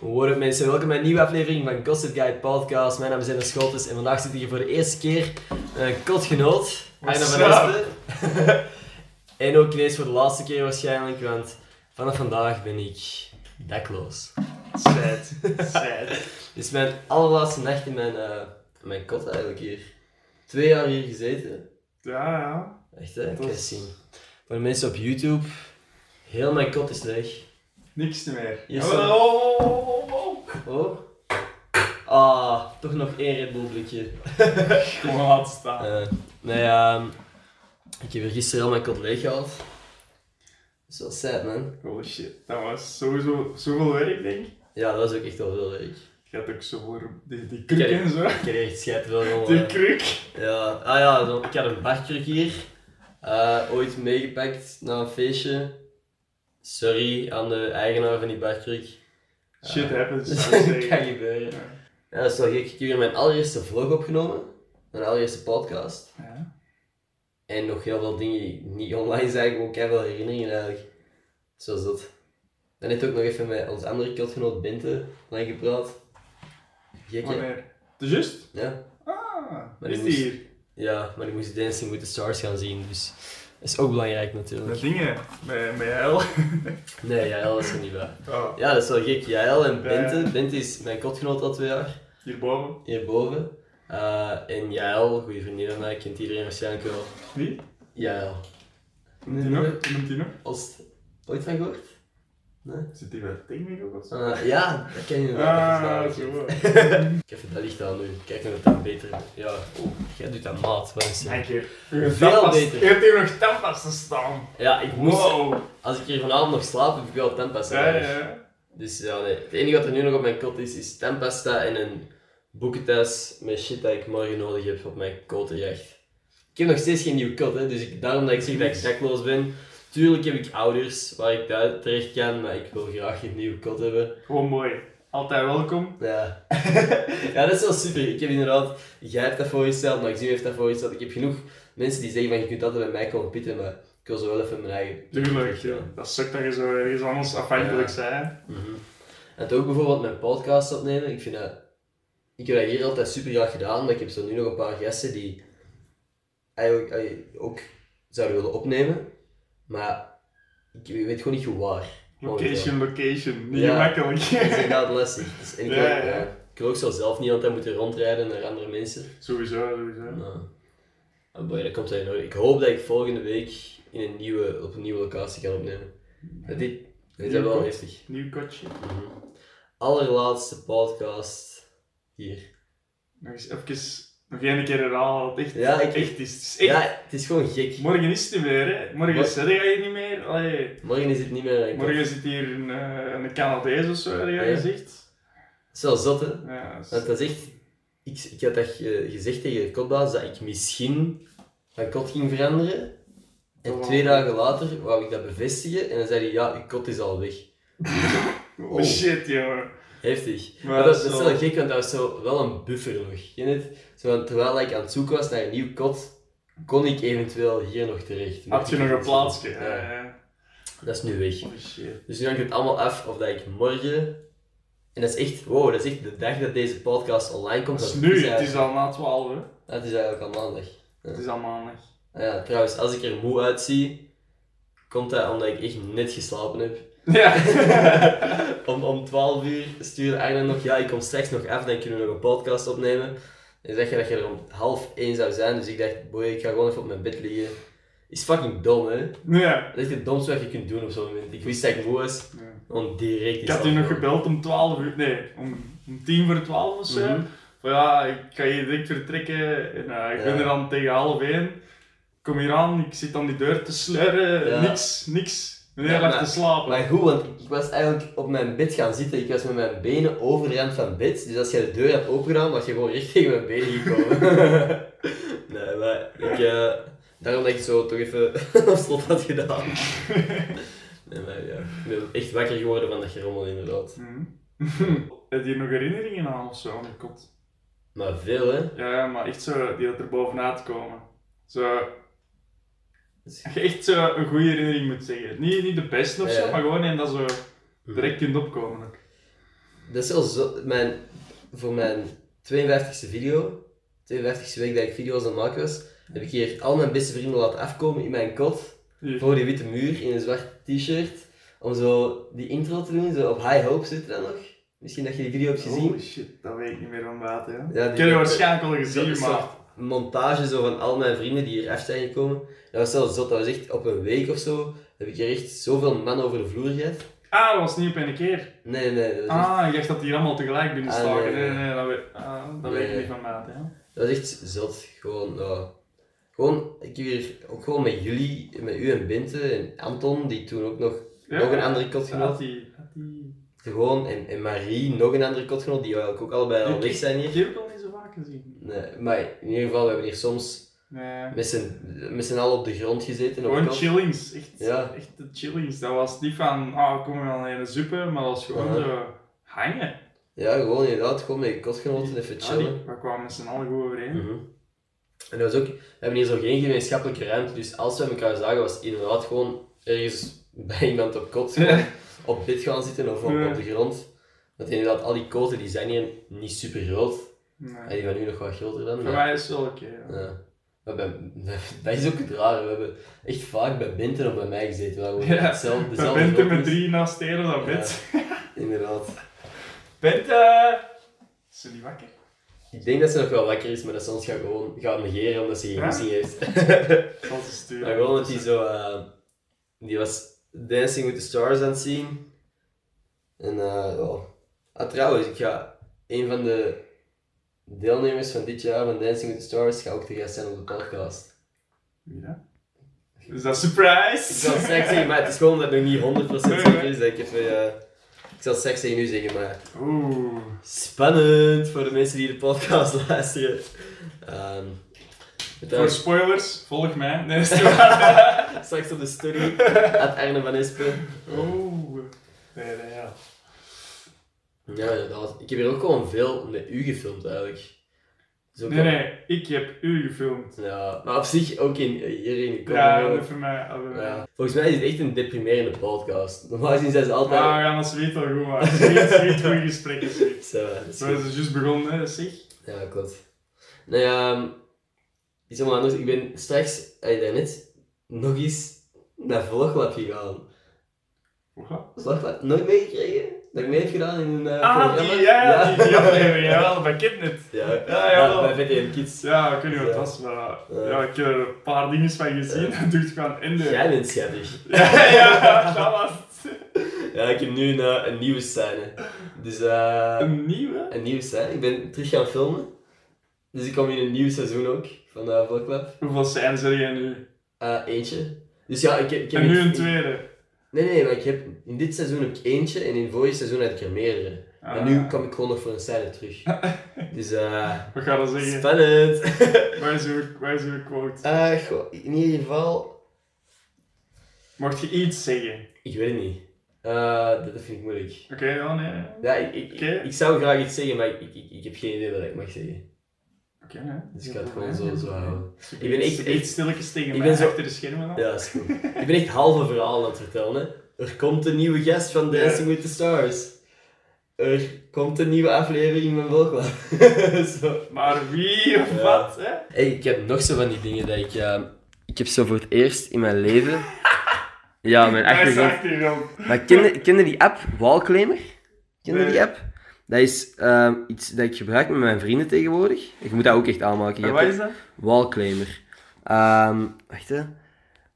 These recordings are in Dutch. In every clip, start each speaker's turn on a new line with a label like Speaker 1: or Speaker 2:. Speaker 1: Horen mensen, welkom bij een nieuwe aflevering van Gossip Guide Podcast. Mijn naam is Enno Scholtes en vandaag zit hier voor de eerste keer een kotgenoot. Arno
Speaker 2: What's
Speaker 1: van Asten. en ook ineens voor de laatste keer waarschijnlijk, want vanaf vandaag ben ik dakloos.
Speaker 2: Sad. Sad.
Speaker 1: Dit is mijn allerlaatste nacht in mijn, eh, in mijn kot eigenlijk hier. Twee jaar hier gezeten.
Speaker 2: Ja, ja.
Speaker 1: Echt, hè? Ik
Speaker 2: Dat
Speaker 1: kan
Speaker 2: is-
Speaker 1: zien. Voor de mensen op YouTube, heel mijn kot is leeg.
Speaker 2: Niks meer.
Speaker 1: Yes,
Speaker 2: Oh,
Speaker 1: sir.
Speaker 2: oh, oh, oh.
Speaker 1: Oh. Ah, toch nog één Red Bull blikje.
Speaker 2: Gewoon laten staan.
Speaker 1: Eh, nee, ehm, ik heb hier gisteren heel mijn kot leeg gehaald. Dat is wel sad, man.
Speaker 2: Holy Oh, shit. Dat was sowieso zoveel werk, denk ik.
Speaker 1: Ja, dat was ook echt wel veel werk.
Speaker 2: Je had ook zoveel... ro- Die, die kruk
Speaker 1: Kijk.
Speaker 2: en zo.
Speaker 1: Ik heb hier echt scheid veel van,
Speaker 2: Die
Speaker 1: eh.
Speaker 2: kruk.
Speaker 1: Oh, Ja, ah ja, zo- ik had een barkruk hier. eh, ooit meegepakt naar een feestje. Sorry aan de eigenaar van die barkruk.
Speaker 2: Shit happens.
Speaker 1: Dus
Speaker 2: zou ik
Speaker 1: dat
Speaker 2: zeggen.
Speaker 1: kan gebeuren.
Speaker 2: Ja.
Speaker 1: Ja, dat is wel gek. Ik heb hier mijn allereerste vlog opgenomen. Mijn allereerste podcast.
Speaker 2: Ja.
Speaker 1: En nog heel veel dingen die niet online zijn, gewoon keihard herinneringen eigenlijk. Zoals dat. Dan heeft ook nog even met ons andere kotgenoot Binte lang gepraat. Gek hè?
Speaker 2: Wanneer? De juist?
Speaker 1: Ja.
Speaker 2: Ah,
Speaker 1: Maar
Speaker 2: is
Speaker 1: die
Speaker 2: die
Speaker 1: moest-
Speaker 2: hier.
Speaker 1: ja, maar die moest Dancing with the Stars gaan zien, dus dat is ook belangrijk
Speaker 2: Met
Speaker 1: natuurlijk.
Speaker 2: dingen. Met, met hel.
Speaker 1: Nee, Jael is er niet bij.
Speaker 2: Oh,
Speaker 1: Ja, dat is wel gek. Jael en
Speaker 2: Ja.
Speaker 1: Bente. Bente is mijn kotgenoot al twee jaar,
Speaker 2: hierboven.
Speaker 1: hierboven. Eh, en Jael, goede vriendin van mij, kent iedereen waarschijnlijk wel.
Speaker 2: Wie?
Speaker 1: Jael.
Speaker 2: Noemt die nog? Noemt die nog?
Speaker 1: Oost, ooit van gehoord? Nee?
Speaker 2: Zit die bij Technic ook of zo?
Speaker 1: Eh, ja, dat ken je wel. dat
Speaker 2: Ah,
Speaker 1: is wel
Speaker 2: zo.
Speaker 1: gek. Ik heb dat licht aan nu. Kijk of het dan beter Ja, oeh, jij doet dat maat, mensen.
Speaker 2: Dank je. Je hebt
Speaker 1: Veel
Speaker 2: tandpas-
Speaker 1: beter.
Speaker 2: Je hebt hier nog tandpasten staan.
Speaker 1: Ja, ik moest.
Speaker 2: Wow.
Speaker 1: Als ik hier vanavond nog slaap, heb ik wel
Speaker 2: Ja,
Speaker 1: tempesta.
Speaker 2: ja, ja.
Speaker 1: Dus ja, nee. Het enige wat er nu nog op mijn kot is, is tempesta en een boekentas met shit dat ik morgen nodig heb op mijn kotenjacht. Ik heb nog steeds geen nieuw kot, hè, dus ik, daarom dat ik zeg dat ik dakloos ben. Tuurlijk heb ik ouders waar ik thui- terecht kan, maar ik wil graag een nieuw kot hebben.
Speaker 2: Gewoon mooi. Altijd welkom.
Speaker 1: Ja. ja, dat is wel super. Ik heb inderdaad, jij hebt dat voorgesteld, Maxime heeft dat voorgesteld. Ik heb genoeg mensen die zeggen van je kunt altijd bij mij komen pitten, maar ik wil zo wel even mijn eigen.
Speaker 2: Tuurlijk, ja. dat sukt dat je zo ergens anders afhankelijk
Speaker 1: Ja.
Speaker 2: zijn.
Speaker 1: Mhm. En toch ook bijvoorbeeld mijn podcast opnemen. Ik vind dat, ik heb dat hier altijd super graag gedaan, maar ik heb zo nu nog een paar gasten die eigenlijk eh, ook zouden willen opnemen, maar ik weet gewoon niet hoe waar.
Speaker 2: Location, location. Niet
Speaker 1: Ja.
Speaker 2: gemakkelijk.
Speaker 1: Het is inderdaad lastig. Dus, en ik, wil,
Speaker 2: Ja, ja.
Speaker 1: ja, ik wil ook zo zelf niet altijd moeten rondrijden naar andere mensen.
Speaker 2: sowieso, sowieso.
Speaker 1: Nou, Ah, boy, dat komt hij nodig. Ik hoop dat ik volgende week in een nieuwe, op een nieuwe locatie kan opnemen. Dat dit, dit is wel heftig.
Speaker 2: Nieuw kotje.
Speaker 1: Mhm. Allerlaatste podcast hier.
Speaker 2: Nog eens even, nog één keer herhalen wat het echt,
Speaker 1: Ja, ik-
Speaker 2: echt is. Het is echt-
Speaker 1: Ja, het is gewoon gek.
Speaker 2: Morgen is het niet meer, hè. Morgen
Speaker 1: Mor-
Speaker 2: zit je hier niet meer. Allee.
Speaker 1: Morgen is het niet meer. Ik
Speaker 2: Morgen zit hier een, eh, een Canadees of zo, had je
Speaker 1: Ja.
Speaker 2: gezegd.
Speaker 1: Het is wel zot, hè?
Speaker 2: Ja, dat is-
Speaker 1: Want dat is echt... Ik, ik had dat ge- gezegd tegen de kotbaas, dat ik misschien van kot ging veranderen. En
Speaker 2: Oh.
Speaker 1: twee dagen later wou ik dat bevestigen en dan zei hij, ja, uw kot is al weg.
Speaker 2: oh,
Speaker 1: oh.
Speaker 2: shit, jongen.
Speaker 1: Heftig.
Speaker 2: Maar
Speaker 1: Maar, dat,
Speaker 2: dat
Speaker 1: dat
Speaker 2: is
Speaker 1: is
Speaker 2: wel-
Speaker 1: wel gek, want dat was zo wel een buffer nog. Ken je het? Zo, want terwijl ik aan het zoeken was naar een nieuw kot, kon ik eventueel hier nog terecht.
Speaker 2: Had je
Speaker 1: Mocht
Speaker 2: nog
Speaker 1: ik
Speaker 2: een plaatsje?
Speaker 1: zoeken.
Speaker 2: Ja,
Speaker 1: Ja,
Speaker 2: ja.
Speaker 1: dat is nu weg.
Speaker 2: Oh shit.
Speaker 1: Dus nu hangt het allemaal af of dat ik morgen... En dat is echt, wow, dat is echt de dag dat deze podcast online komt.
Speaker 2: Dat is nu, het is
Speaker 1: eigenlijk-
Speaker 2: al na 12, hè.
Speaker 1: Dat is eigenlijk al maandag.
Speaker 2: Het is al maandag.
Speaker 1: Ah ja, trouwens, als ik er moe uitzie, komt dat omdat ik echt net geslapen heb.
Speaker 2: Ja.
Speaker 1: Om, om 12 uur stuurde Arne nog, ja, ik kom straks nog af, dan kunnen we nog een podcast opnemen. En zeg je dat je er om half één zou zijn, dus ik dacht, boy, ik ga gewoon even op mijn bed liggen. Is fucking dom, hè?
Speaker 2: ja.
Speaker 1: Dat is echt het domste wat je kunt doen op zo'n moment. Ik wist dat ik moe was, gewoon direct
Speaker 2: Ik
Speaker 1: iets
Speaker 2: had u nog
Speaker 1: afnemen.
Speaker 2: gebeld om 12 uur, nee, om, om 10 voor 12 of zo.
Speaker 1: Mhm.
Speaker 2: Van ja, ik ga hier direct vertrekken en eh, ik
Speaker 1: Ja.
Speaker 2: ben er dan tegen half 1. Ik kom hier aan, ik zit aan die deur te sleuren,
Speaker 1: Ja.
Speaker 2: niks, niks. Meneer
Speaker 1: Ja,
Speaker 2: lag
Speaker 1: maar-
Speaker 2: te slapen.
Speaker 1: Maar goed, want ik, ik was eigenlijk op mijn bed gaan zitten. Ik was met mijn benen over de rand van het bed. Dus als jij de deur had opengedaan, was je gewoon recht tegen mijn benen gekomen. nee, maar ik, eh, daarom dat ik zo toch even op slot had gedaan. nee, maar ja. Ik ben echt wakker geworden van dat gerommel, inderdaad.
Speaker 2: Mhm. Heb je hier nog herinneringen aan of zo aan je kot?
Speaker 1: Maar veel, hè?
Speaker 2: Ja, ja, maar echt zo, die dat er bovenuit komen. Zo, dat je echt zo een goede herinnering moet zeggen. Niet, niet de beste of
Speaker 1: Ja. Mhm.
Speaker 2: zo, maar gewoon en dat zo direct kunt opkomen. ook.
Speaker 1: dat is al zo, mijn, voor mijn 52e video, 52e week dat ik video's aan het maken was, heb ik hier al mijn beste vrienden laten afkomen in mijn kot,
Speaker 2: Hier.
Speaker 1: voor die witte muur, in een zwart t-shirt, om zo die intro te doen, zo op high hope zitten dan nog. Misschien dat je die video hebt gezien.
Speaker 2: Oh shit, dat weet ik niet meer van buiten. Ja.
Speaker 1: Ja, die-
Speaker 2: ik heb je waarschijnlijk al gezien,
Speaker 1: Zo'n
Speaker 2: maar...
Speaker 1: soort montage zo van al mijn vrienden die hier af zijn gekomen. Dat was zelfs zot, dat was echt op een week of zo. Heb ik hier echt zoveel man over de vloer gehad.
Speaker 2: Ah, dat was niet op één keer.
Speaker 1: Nee, nee, dat was, echt,
Speaker 2: Ah, ik dacht dat die allemaal tegelijk binnenslagen.
Speaker 1: Ah, nee,
Speaker 2: nee,
Speaker 1: nee.
Speaker 2: nee, dat weet, ah, dat weet ik
Speaker 1: Nee.
Speaker 2: niet van buiten. hè.
Speaker 1: dat was echt zot. Gewoon, ja. gewoon, ik heb hier ook gewoon met jullie, met u en Binte en Anton, die toen ook nog,
Speaker 2: Ja.
Speaker 1: nog een andere kotgenoot.
Speaker 2: Had die... Had die...
Speaker 1: Gewoon, en, en Marie, nog een andere kotgenoot, die eigenlijk ook allebei al
Speaker 2: Ik-
Speaker 1: weg zijn
Speaker 2: Ik
Speaker 1: hier.
Speaker 2: heb het al niet zo vaak gezien.
Speaker 1: Nee, maar in ieder geval, we hebben hier soms
Speaker 2: Nee.
Speaker 1: met z'n met z'n allen op de grond gezeten. Op
Speaker 2: Gewoon
Speaker 1: kot.
Speaker 2: chillings. Echt,
Speaker 1: Ja.
Speaker 2: echt de chillings. Dat was niet van, ah, kom maar naar de suppe, maar dat was gewoon
Speaker 1: Ja.
Speaker 2: zo hangen.
Speaker 1: Ja, gewoon inderdaad, gewoon met je kotgenoten even
Speaker 2: Ah,
Speaker 1: chillen.
Speaker 2: die- we kwamen met z'n allen goed overeen.
Speaker 1: Mhm. En dat was ook, we hebben hier zo geen gemeenschappelijke ruimte, dus als we elkaar zagen, was het inderdaad gewoon ergens bij iemand op kot, gewoon
Speaker 2: Ja.
Speaker 1: op bed gaan zitten of op,
Speaker 2: Ja.
Speaker 1: op de grond. Want inderdaad, al die koten die zijn hier niet super groot.
Speaker 2: Nee.
Speaker 1: Ja, die van nu nog wat groter dan.
Speaker 2: Voor
Speaker 1: maar-
Speaker 2: mij is het wel oké. ja.
Speaker 1: Ja. Maar bij- dat is ook het rare, we hebben echt vaak bij Binten of bij mij gezeten, waar we
Speaker 2: Ja,
Speaker 1: hetzelfde,
Speaker 2: We
Speaker 1: dezelfde
Speaker 2: benten
Speaker 1: groep
Speaker 2: met
Speaker 1: is.
Speaker 2: drie naast de hele dat
Speaker 1: Ja.
Speaker 2: bed.
Speaker 1: Inderdaad.
Speaker 2: Bente! Is ze niet wakker?
Speaker 1: Ik denk dat ze nog wel wakker is, maar dat ze ons gaat gewoon gaan negeren omdat ze geen
Speaker 2: Ja?
Speaker 1: goesting heeft.
Speaker 2: Ik zal ze sturen.
Speaker 1: Maar gewoon dat hij zo. eh, die was Dancing with the Stars aan het zien. En eh. ja. Ah, trouwens, ik ga. Een van de deelnemers van dit jaar van Dancing with the Stars gaat ook te gast zijn op de podcast.
Speaker 2: Wie dat? Is dat surprise?
Speaker 1: Ik zal het straks zeggen, maar het is gewoon dat het nog niet 100% zeker is. Dat ik, even, eh, ik zal het straks tegen u zeggen, maar.
Speaker 2: Oeh.
Speaker 1: Spannend voor de mensen die de podcast luisteren. Ehm,
Speaker 2: Voor
Speaker 1: trouwens,
Speaker 2: spoilers, volg mij. Nee, is het waar?
Speaker 1: straks op de story. At Arne van Espen.
Speaker 2: Oeh. Nee, nee, ja.
Speaker 1: Ja, inderdaad. Ik heb hier ook gewoon veel met u gefilmd eigenlijk. Dus ook
Speaker 2: Nee, nee, ik heb u gefilmd.
Speaker 1: wel- Ja, maar op zich ook in, hier in de
Speaker 2: Ja,
Speaker 1: comedy.
Speaker 2: dat voor mij. dat voor mij.
Speaker 1: Ja. Volgens mij is het echt een deprimerende podcast. Normaal gezien zijn ze altijd.
Speaker 2: Maar we gaan als weet wel goed maken. Sweet, sweet, goede gesprekken. sweet.
Speaker 1: Zo, dat is
Speaker 2: Zo
Speaker 1: goed.
Speaker 2: is het dus juist begonnen, hè, zeg.
Speaker 1: Ja, klopt. Nou ja, ehm, iets helemaal anders. Ik ben straks, eh, daarnet, nog eens naar Vloglab gegaan.
Speaker 2: Wat?
Speaker 1: Vloglab, nooit meegekregen? Dat ik mee heb gedaan in een eh,
Speaker 2: Ah,
Speaker 1: programma?
Speaker 2: die, ja, die, die aflevering, jawel, bij Kidnet.
Speaker 1: Ja,
Speaker 2: Ja, jawel.
Speaker 1: bij VTM Kids.
Speaker 2: Ja, ik weet niet wat het was, maar ja, ik heb er een paar dingen van gezien. Dat doet gewoon in de.
Speaker 1: Jij bent schattig.
Speaker 2: Ja, ja, dat was het.
Speaker 1: Ja, ik heb nu een, eh, een nieuwe scène. Dus eh
Speaker 2: Een nieuwe?
Speaker 1: een nieuwe scène. Ik ben terug gaan filmen. Dus ik kom in een nieuw seizoen ook van de Vloglab.
Speaker 2: Hoeveel zijn er jij nu?
Speaker 1: Eh, eentje. Dus ja, ik heb... Ik heb
Speaker 2: En nu
Speaker 1: ik-
Speaker 2: een
Speaker 1: ik-
Speaker 2: tweede.
Speaker 1: Nee, nee, maar ik heb, in dit seizoen heb ik eentje en in vorig seizoen had ik er meerdere. En
Speaker 2: Ah.
Speaker 1: nu kom ik gewoon nog voor een scène terug. Dus eh...
Speaker 2: Wat ga dat zeggen?
Speaker 1: Spannend!
Speaker 2: Waar is uw, waar is uw quote?
Speaker 1: Eh, goh, in ieder geval...
Speaker 2: Mocht je iets zeggen?
Speaker 1: Ik weet het niet. Eh, dat vind ik moeilijk.
Speaker 2: Oké, dan nee. Oké,
Speaker 1: Ja, ik, ik, ik,
Speaker 2: Oké.
Speaker 1: ik zou graag iets zeggen, maar ik, ik, ik heb geen idee wat ik mag zeggen.
Speaker 2: nee.
Speaker 1: Dus ik ga het gewoon zo, zo houden.
Speaker 2: Ik
Speaker 1: ben echt- echt-
Speaker 2: stilletjes tegen
Speaker 1: ik
Speaker 2: mij
Speaker 1: ben zo-
Speaker 2: achter de schermen dan.
Speaker 1: Ja, is goed. Ik ben echt halve verhalen aan het vertellen. Hè. Er komt een nieuwe gast van Dancing with the Stars. Er komt een nieuwe aflevering van Volkwam. zo.
Speaker 2: Maar wie of
Speaker 1: Ja.
Speaker 2: wat, hè?
Speaker 1: Hey, ik heb nog zo van die dingen dat ik... eh, ik heb zo voor het eerst in mijn leven... Ja, mijn
Speaker 2: Hij is
Speaker 1: achtergrond...
Speaker 2: achtergrond.
Speaker 1: Maar kende, kende die app Wallclaimer? Kende
Speaker 2: Nee.
Speaker 1: die app? Dat is eh, iets dat ik gebruik met mijn vrienden tegenwoordig. Je moet dat ook echt aanmaken. Je
Speaker 2: En
Speaker 1: hebt
Speaker 2: wat
Speaker 1: dat-
Speaker 2: is dat?
Speaker 1: Wallclaimer. Ehm, wacht hè.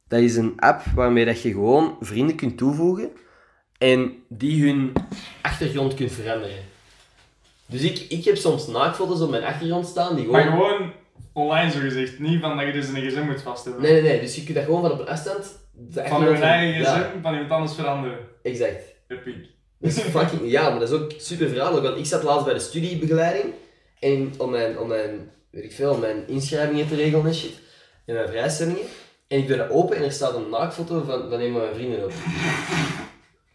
Speaker 1: Dat is een app waarmee dat je gewoon vrienden kunt toevoegen en die hun achtergrond kunt veranderen. Dus ik, ik heb soms naaktfoto's op mijn achtergrond staan die
Speaker 2: Maar
Speaker 1: gewoon...
Speaker 2: gewoon online zo gezegd, niet van dat je dus een gsm moet vast hebben.
Speaker 1: Nee, nee, nee. Dus je kunt dat gewoon van op een afstand... de
Speaker 2: Van
Speaker 1: achtergrond
Speaker 2: uw eigen gsm,
Speaker 1: Ja,
Speaker 2: van iemand anders veranderen.
Speaker 1: exact.
Speaker 2: Epic.
Speaker 1: Dat is fucking, ja, maar dat is ook super verraderlijk, want ik zat laatst bij de studiebegeleiding en om mijn, om mijn, weet ik veel, om mijn inschrijvingen te regelen en shit, en mijn vrijstellingen. En ik doe dat open en er staat een naaktfoto van, van een van mijn vrienden op.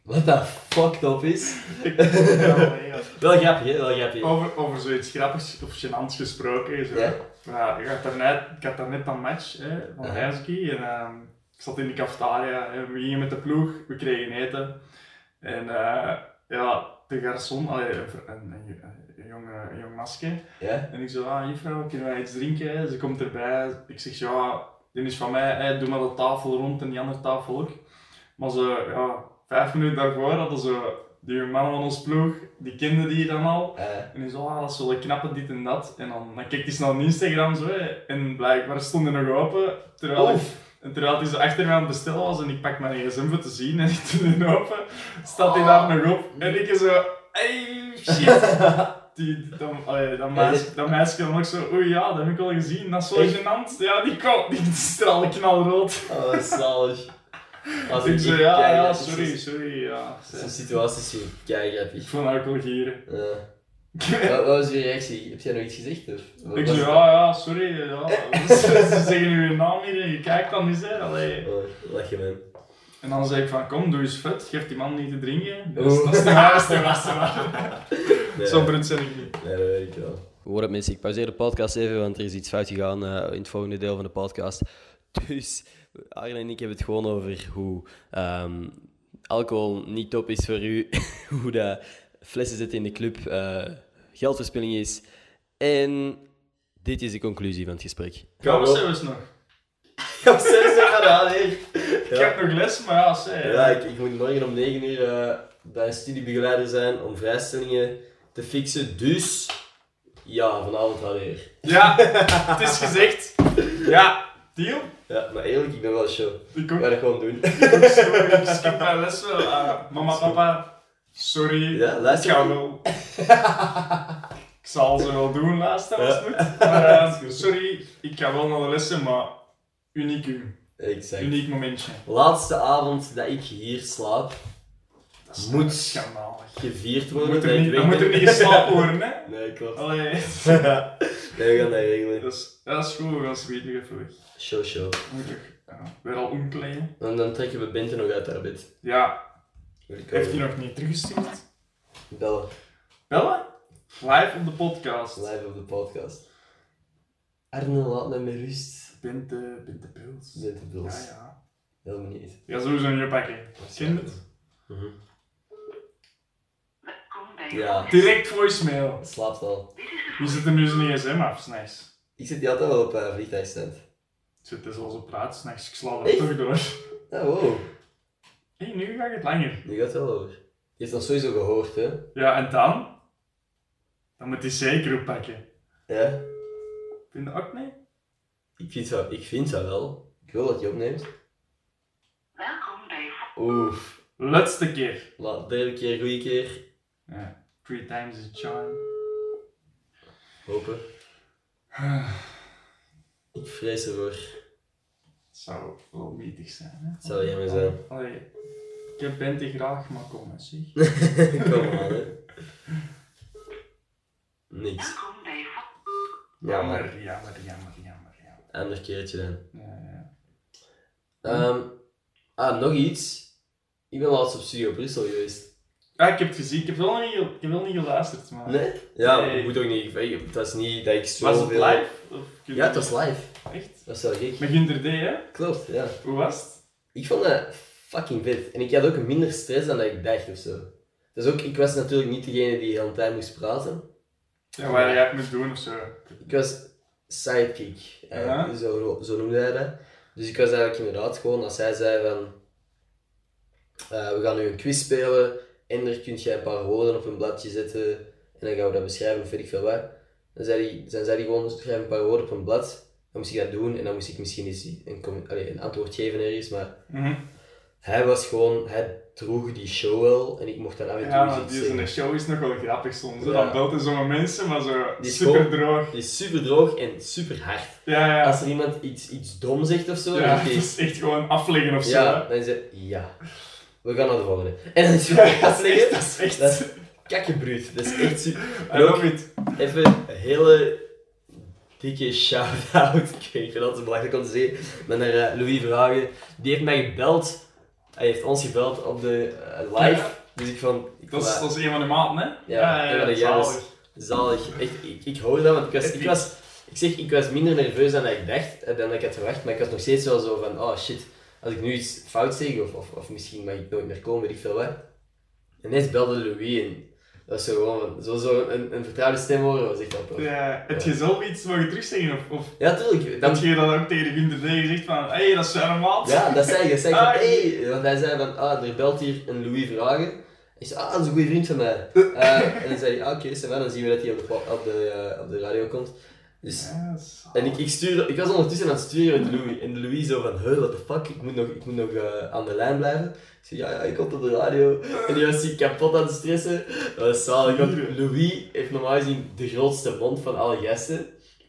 Speaker 1: Wat dat fucked up is.
Speaker 2: Ja, ja.
Speaker 1: Wel grappig, hè? Wel grappig.
Speaker 2: Over, over zoiets grappigs of gênants gesproken. Zo.
Speaker 1: Ja.
Speaker 2: Ja, ik, had daarnet, ik had daarnet een match hè, van
Speaker 1: Ja.
Speaker 2: Heijski en ehm, ik zat in de cafetaria. Hè, we gingen met de ploeg, we kregen eten. En eh, ja, de garçon, allee, een, vr- een, een, een jong, eh, een jong masje.
Speaker 1: Ja?
Speaker 2: En ik zo, ah juffrouw, kunnen wij iets drinken? Ze komt erbij. Ik zeg, ja, dit is van mij, hè, doe maar de tafel rond en die andere tafel ook. Maar ze, ja, vijf minuten daarvoor hadden ze die mannen van ons ploeg, die kenden die dan al.
Speaker 1: Eh,
Speaker 2: En die zo, ah, dat is wel een knappe dit en dat. En dan, dan kijkt hij snel op Instagram zo, hè. en blijkbaar stonden die nog open. Terwijl ik- en terwijl hij zo achter mij aan het bestellen was en ik pak mijn gsm voor te zien en ik doe die open, staat hij
Speaker 1: Ah.
Speaker 2: daar nog op en ik zo, ey shit. Die, dan, allee, dat, meisje, dat meisje dan ook zo, oei ja, dat heb ik al gezien, dat is wel
Speaker 1: Echt?
Speaker 2: gênant. Ja, die kwam, die straalde knalrood.
Speaker 1: oh, wat zalig. Als
Speaker 2: ik zo,
Speaker 1: hier
Speaker 2: ja,
Speaker 1: kijk,
Speaker 2: ja,
Speaker 1: dat is
Speaker 2: sorry,
Speaker 1: zo'n-
Speaker 2: sorry, ja.
Speaker 1: Zo'n situatie is hier kei
Speaker 2: Ik
Speaker 1: grappig.
Speaker 2: vond dat ook wel gieren.
Speaker 1: Eh, wat, wat was je reactie? Heb jij nog iets gezegd? Of? Wat
Speaker 2: Ik
Speaker 1: was
Speaker 2: zo,
Speaker 1: het?
Speaker 2: ja, ja, sorry, ja. Ze, ze zeggen nu je naam hier en je kijkt dan eens, hè. Allee.
Speaker 1: Oh, lach je man.
Speaker 2: En dan zei ik van, kom, doe eens vet, geef die man niet te drinken. Dat
Speaker 1: Oeh.
Speaker 2: is- dat is de waarste, dat is de
Speaker 1: Oh. Nee.
Speaker 2: Zo bruut zijn ik niet.
Speaker 1: Nee, dat weet ik wel. Hoor het mensen, ik pauzeer de podcast even, want er is iets fout gegaan eh, in het volgende deel van de podcast. Dus Arne en ik hebben het gewoon over hoe ehm, alcohol niet top is voor u, hoe dat flessen zetten in de club eh, geldverspilling is. En dit is de conclusie van het gesprek.
Speaker 2: Ja, wat zijn we eens nog?
Speaker 1: Ja, zes uur aan,
Speaker 2: Ik heb nog les, maar ja, zij.
Speaker 1: Ja, ik, ik moet morgen om 9 uur eh, bij een studiebegeleider zijn om vrijstellingen te fixen. Dus ja, vanavond wel weer.
Speaker 2: Ja, het is gezegd. Ja, deal.
Speaker 1: Ja, maar eerlijk, ik ben wel show.
Speaker 2: Ik
Speaker 1: Ik
Speaker 2: ook,
Speaker 1: ga dat gewoon doen.
Speaker 2: sorry, ik skip mijn les wel. Ah, mama, papa, sorry.
Speaker 1: Ja, luister.
Speaker 2: Ik ga wel. Ik zal ze wel doen, laatste, als het moet. Maar eh, sorry, ik ga wel naar de lessen, maar uniek, u.
Speaker 1: Exact.
Speaker 2: uniek momentje.
Speaker 1: Laatste avond dat ik hier slaap,
Speaker 2: Dat is eh,
Speaker 1: Moet.
Speaker 2: schandalig.
Speaker 1: gevierd
Speaker 2: Dan
Speaker 1: worden.
Speaker 2: moet
Speaker 1: dat
Speaker 2: er
Speaker 1: ik
Speaker 2: niet,
Speaker 1: weet
Speaker 2: dan moet er
Speaker 1: dat-
Speaker 2: niet geslapen worden, hè.
Speaker 1: Nee, klopt.
Speaker 2: Allee.
Speaker 1: nee, we gaan dat regelen.
Speaker 2: Dat is, dat is goed, we gaan ze nog even weg.
Speaker 1: Show, show.
Speaker 2: Moet ik ja, weer al omkleden?
Speaker 1: Dan, dan trekken we Bente nog uit haar bed.
Speaker 2: Ja, Eh,
Speaker 1: Wil ik
Speaker 2: heeft
Speaker 1: wel
Speaker 2: hij nog niet teruggestuurd?
Speaker 1: Bellen.
Speaker 2: Bellen? Live op de podcast.
Speaker 1: Live op de podcast. Arne, laat mij met rust.
Speaker 2: Binte, Binte Pils.
Speaker 1: Bente Bils.
Speaker 2: Ja, ja.
Speaker 1: Helemaal niet.
Speaker 2: Ja, sowieso niet pakken. Ken je het?
Speaker 1: Mhm.
Speaker 3: Welkom bij
Speaker 1: Ja.
Speaker 3: Orange.
Speaker 2: Direct voicemail.
Speaker 1: Het slaapt al.
Speaker 2: Wie zit er nu zijn gsm af, s'nachts?
Speaker 1: Ik zit die altijd wel op eh vliegtuigstand.
Speaker 2: Ik zit dus al zo praat, s'nachts, ik sla dat
Speaker 1: Echt?
Speaker 2: toch door.
Speaker 1: Ja, wow.
Speaker 2: Hé, nu ga ik het langer.
Speaker 1: Nu gaat het wel over. Je hebt dat sowieso gehoord, hè?
Speaker 2: Ja, en dan? Dan moet hij zeker oppakken.
Speaker 1: Ja.
Speaker 2: Vind je dat ook niet?
Speaker 1: Ik vind dat, ik vind dat wel. Ik wil dat je opneemt.
Speaker 3: Welkom bij
Speaker 1: Oef.
Speaker 2: Laatste keer.
Speaker 1: La, derde keer, goede keer.
Speaker 2: Ja. Three times is a charm.
Speaker 1: Hopen. Ik vrees ervoor.
Speaker 2: Het zou wel metig zijn, hè?
Speaker 1: Het zou jammer zijn.
Speaker 2: Allee, ik heb Bente graag, maar kom eens, zeg.
Speaker 1: Kom aan, hè. Niks.
Speaker 3: Welkom bij
Speaker 1: Jammer.
Speaker 2: jammer, jammer, jammer, jammer. jammer.
Speaker 1: Ander keertje dan.
Speaker 2: Ja, ja.
Speaker 1: Ehm, ah, nog iets. Ik ben laatst op Studio Brussel geweest.
Speaker 2: Ah, ik heb het gezien. Ik heb wel niet, ge- ik heb wel niet geluisterd, maar...
Speaker 1: Nee? Ja,
Speaker 2: Nee.
Speaker 1: maar moet ook niet. ik- Dat is niet dat ik zo
Speaker 2: Was het
Speaker 1: veel-
Speaker 2: live? Of kun je-
Speaker 1: Ja, het was live.
Speaker 2: Echt?
Speaker 1: Dat is wel gek.
Speaker 2: Met Gunter D, hè?
Speaker 1: Klopt, ja.
Speaker 2: Hoe was het?
Speaker 1: Ik vond dat fucking vet. En ik had ook minder stress dan dat ik dacht of zo. Dus ook, ik was natuurlijk niet degene die heel de tijd moest praten.
Speaker 2: Ja, waar jij het moest doen of zo.
Speaker 1: Ik was sidekick, eh,
Speaker 2: Ja.
Speaker 1: zo, zo noemde hij dat. Dus ik was eigenlijk inderdaad gewoon als hij zei van... eh, we gaan nu een quiz spelen. En er kun jij een paar woorden op een bladje zetten. En dan gaan we dat beschrijven of weet ik veel wat. Dan zei hij, dan zei hij gewoon, schrijf een paar woorden op een blad. Dan moest ik dat doen en dan moest ik misschien eens een, com- allee, een antwoord geven ergens. Maar
Speaker 2: Mhm.
Speaker 1: Hij was gewoon, hij droeg die show wel en ik mocht dan af en toe
Speaker 2: Ja,
Speaker 1: eens
Speaker 2: maar
Speaker 1: iets
Speaker 2: die zijn
Speaker 1: zeggen.
Speaker 2: show is nog wel grappig soms. hè.
Speaker 1: Ja.
Speaker 2: Dan belt hij zomaar mensen, maar zo
Speaker 1: Die is
Speaker 2: super
Speaker 1: gewoon-
Speaker 2: droog.
Speaker 1: Die is super droog en super hard.
Speaker 2: Ja, ja.
Speaker 1: Als er iemand iets, iets dom zegt of zo,
Speaker 2: Ja,
Speaker 1: dan
Speaker 2: het
Speaker 1: is
Speaker 2: is echt gewoon afleggen of
Speaker 1: hij,
Speaker 2: zo.
Speaker 1: ja,
Speaker 2: hè.
Speaker 1: dan is hij, ja, we gaan naar de volgende. En dan is hij weer
Speaker 2: Dat is
Speaker 1: afleggen.
Speaker 2: echt... Ah, Dat is echt...
Speaker 1: Dat is kakkebruut, dat is echt super.
Speaker 2: I love it.
Speaker 1: Even een hele dikke shout-out. Ik weet niet, dat is belangrijk om te zeggen. Maar naar eh, Louis Vragen. Die heeft mij gebeld. Hij heeft ons gebeld op de eh, live.
Speaker 2: Ja.
Speaker 1: Dus ik van. Ik vond
Speaker 2: Dat is,
Speaker 1: dat
Speaker 2: dat is een van de maten, hè?
Speaker 1: Ja, een van de
Speaker 2: zalig.
Speaker 1: jaren. zalig. Echt, ik, ik hoor dat, want ik was, ik was. Ik zeg, ik was minder nerveus dan dat ik dacht, eh, dan dat ik had verwacht. Maar ik was nog steeds wel zo van: oh shit, als ik nu iets fout zeg, of, of, of misschien mag ik nooit meer komen, weet ik veel wat. En ineens belde Louis en Dat is zo gewoon zo, zo een, een vertrouwde stem horen, was echt grappig. Ja,
Speaker 2: Ja, heb je zelf iets mogen terugzeggen? Of, of
Speaker 1: tuurlijk. Dan,
Speaker 2: dat je dan ook tegen de vrienden tegen zegt van, hé, hey, dat is jouw maat?
Speaker 1: ja, dat zei je. Zei ik van,
Speaker 2: Ah,
Speaker 1: hey, want hij zei van, ah, er belt hier een Louis Vragen. Ik zei, ah, dat is een goede vriend van mij. Eh, en dan zei hij, ah, oké, ça va, dan zien we dat hij op de, po- op de, eh, op de radio komt. Dus
Speaker 2: Ja, zalig.
Speaker 1: En ik, ik, stuurde, ik was ondertussen aan het sturen met Louis. En Louis zo van, huh, what the fuck, ik moet nog, ik moet nog eh, aan de lijn blijven. Ik zei, ja, ja, ik kom op de radio. En die was zich kapot aan het stressen. Dat was zalig, want Louis heeft normaal gezien de grootste mond van alle gasten.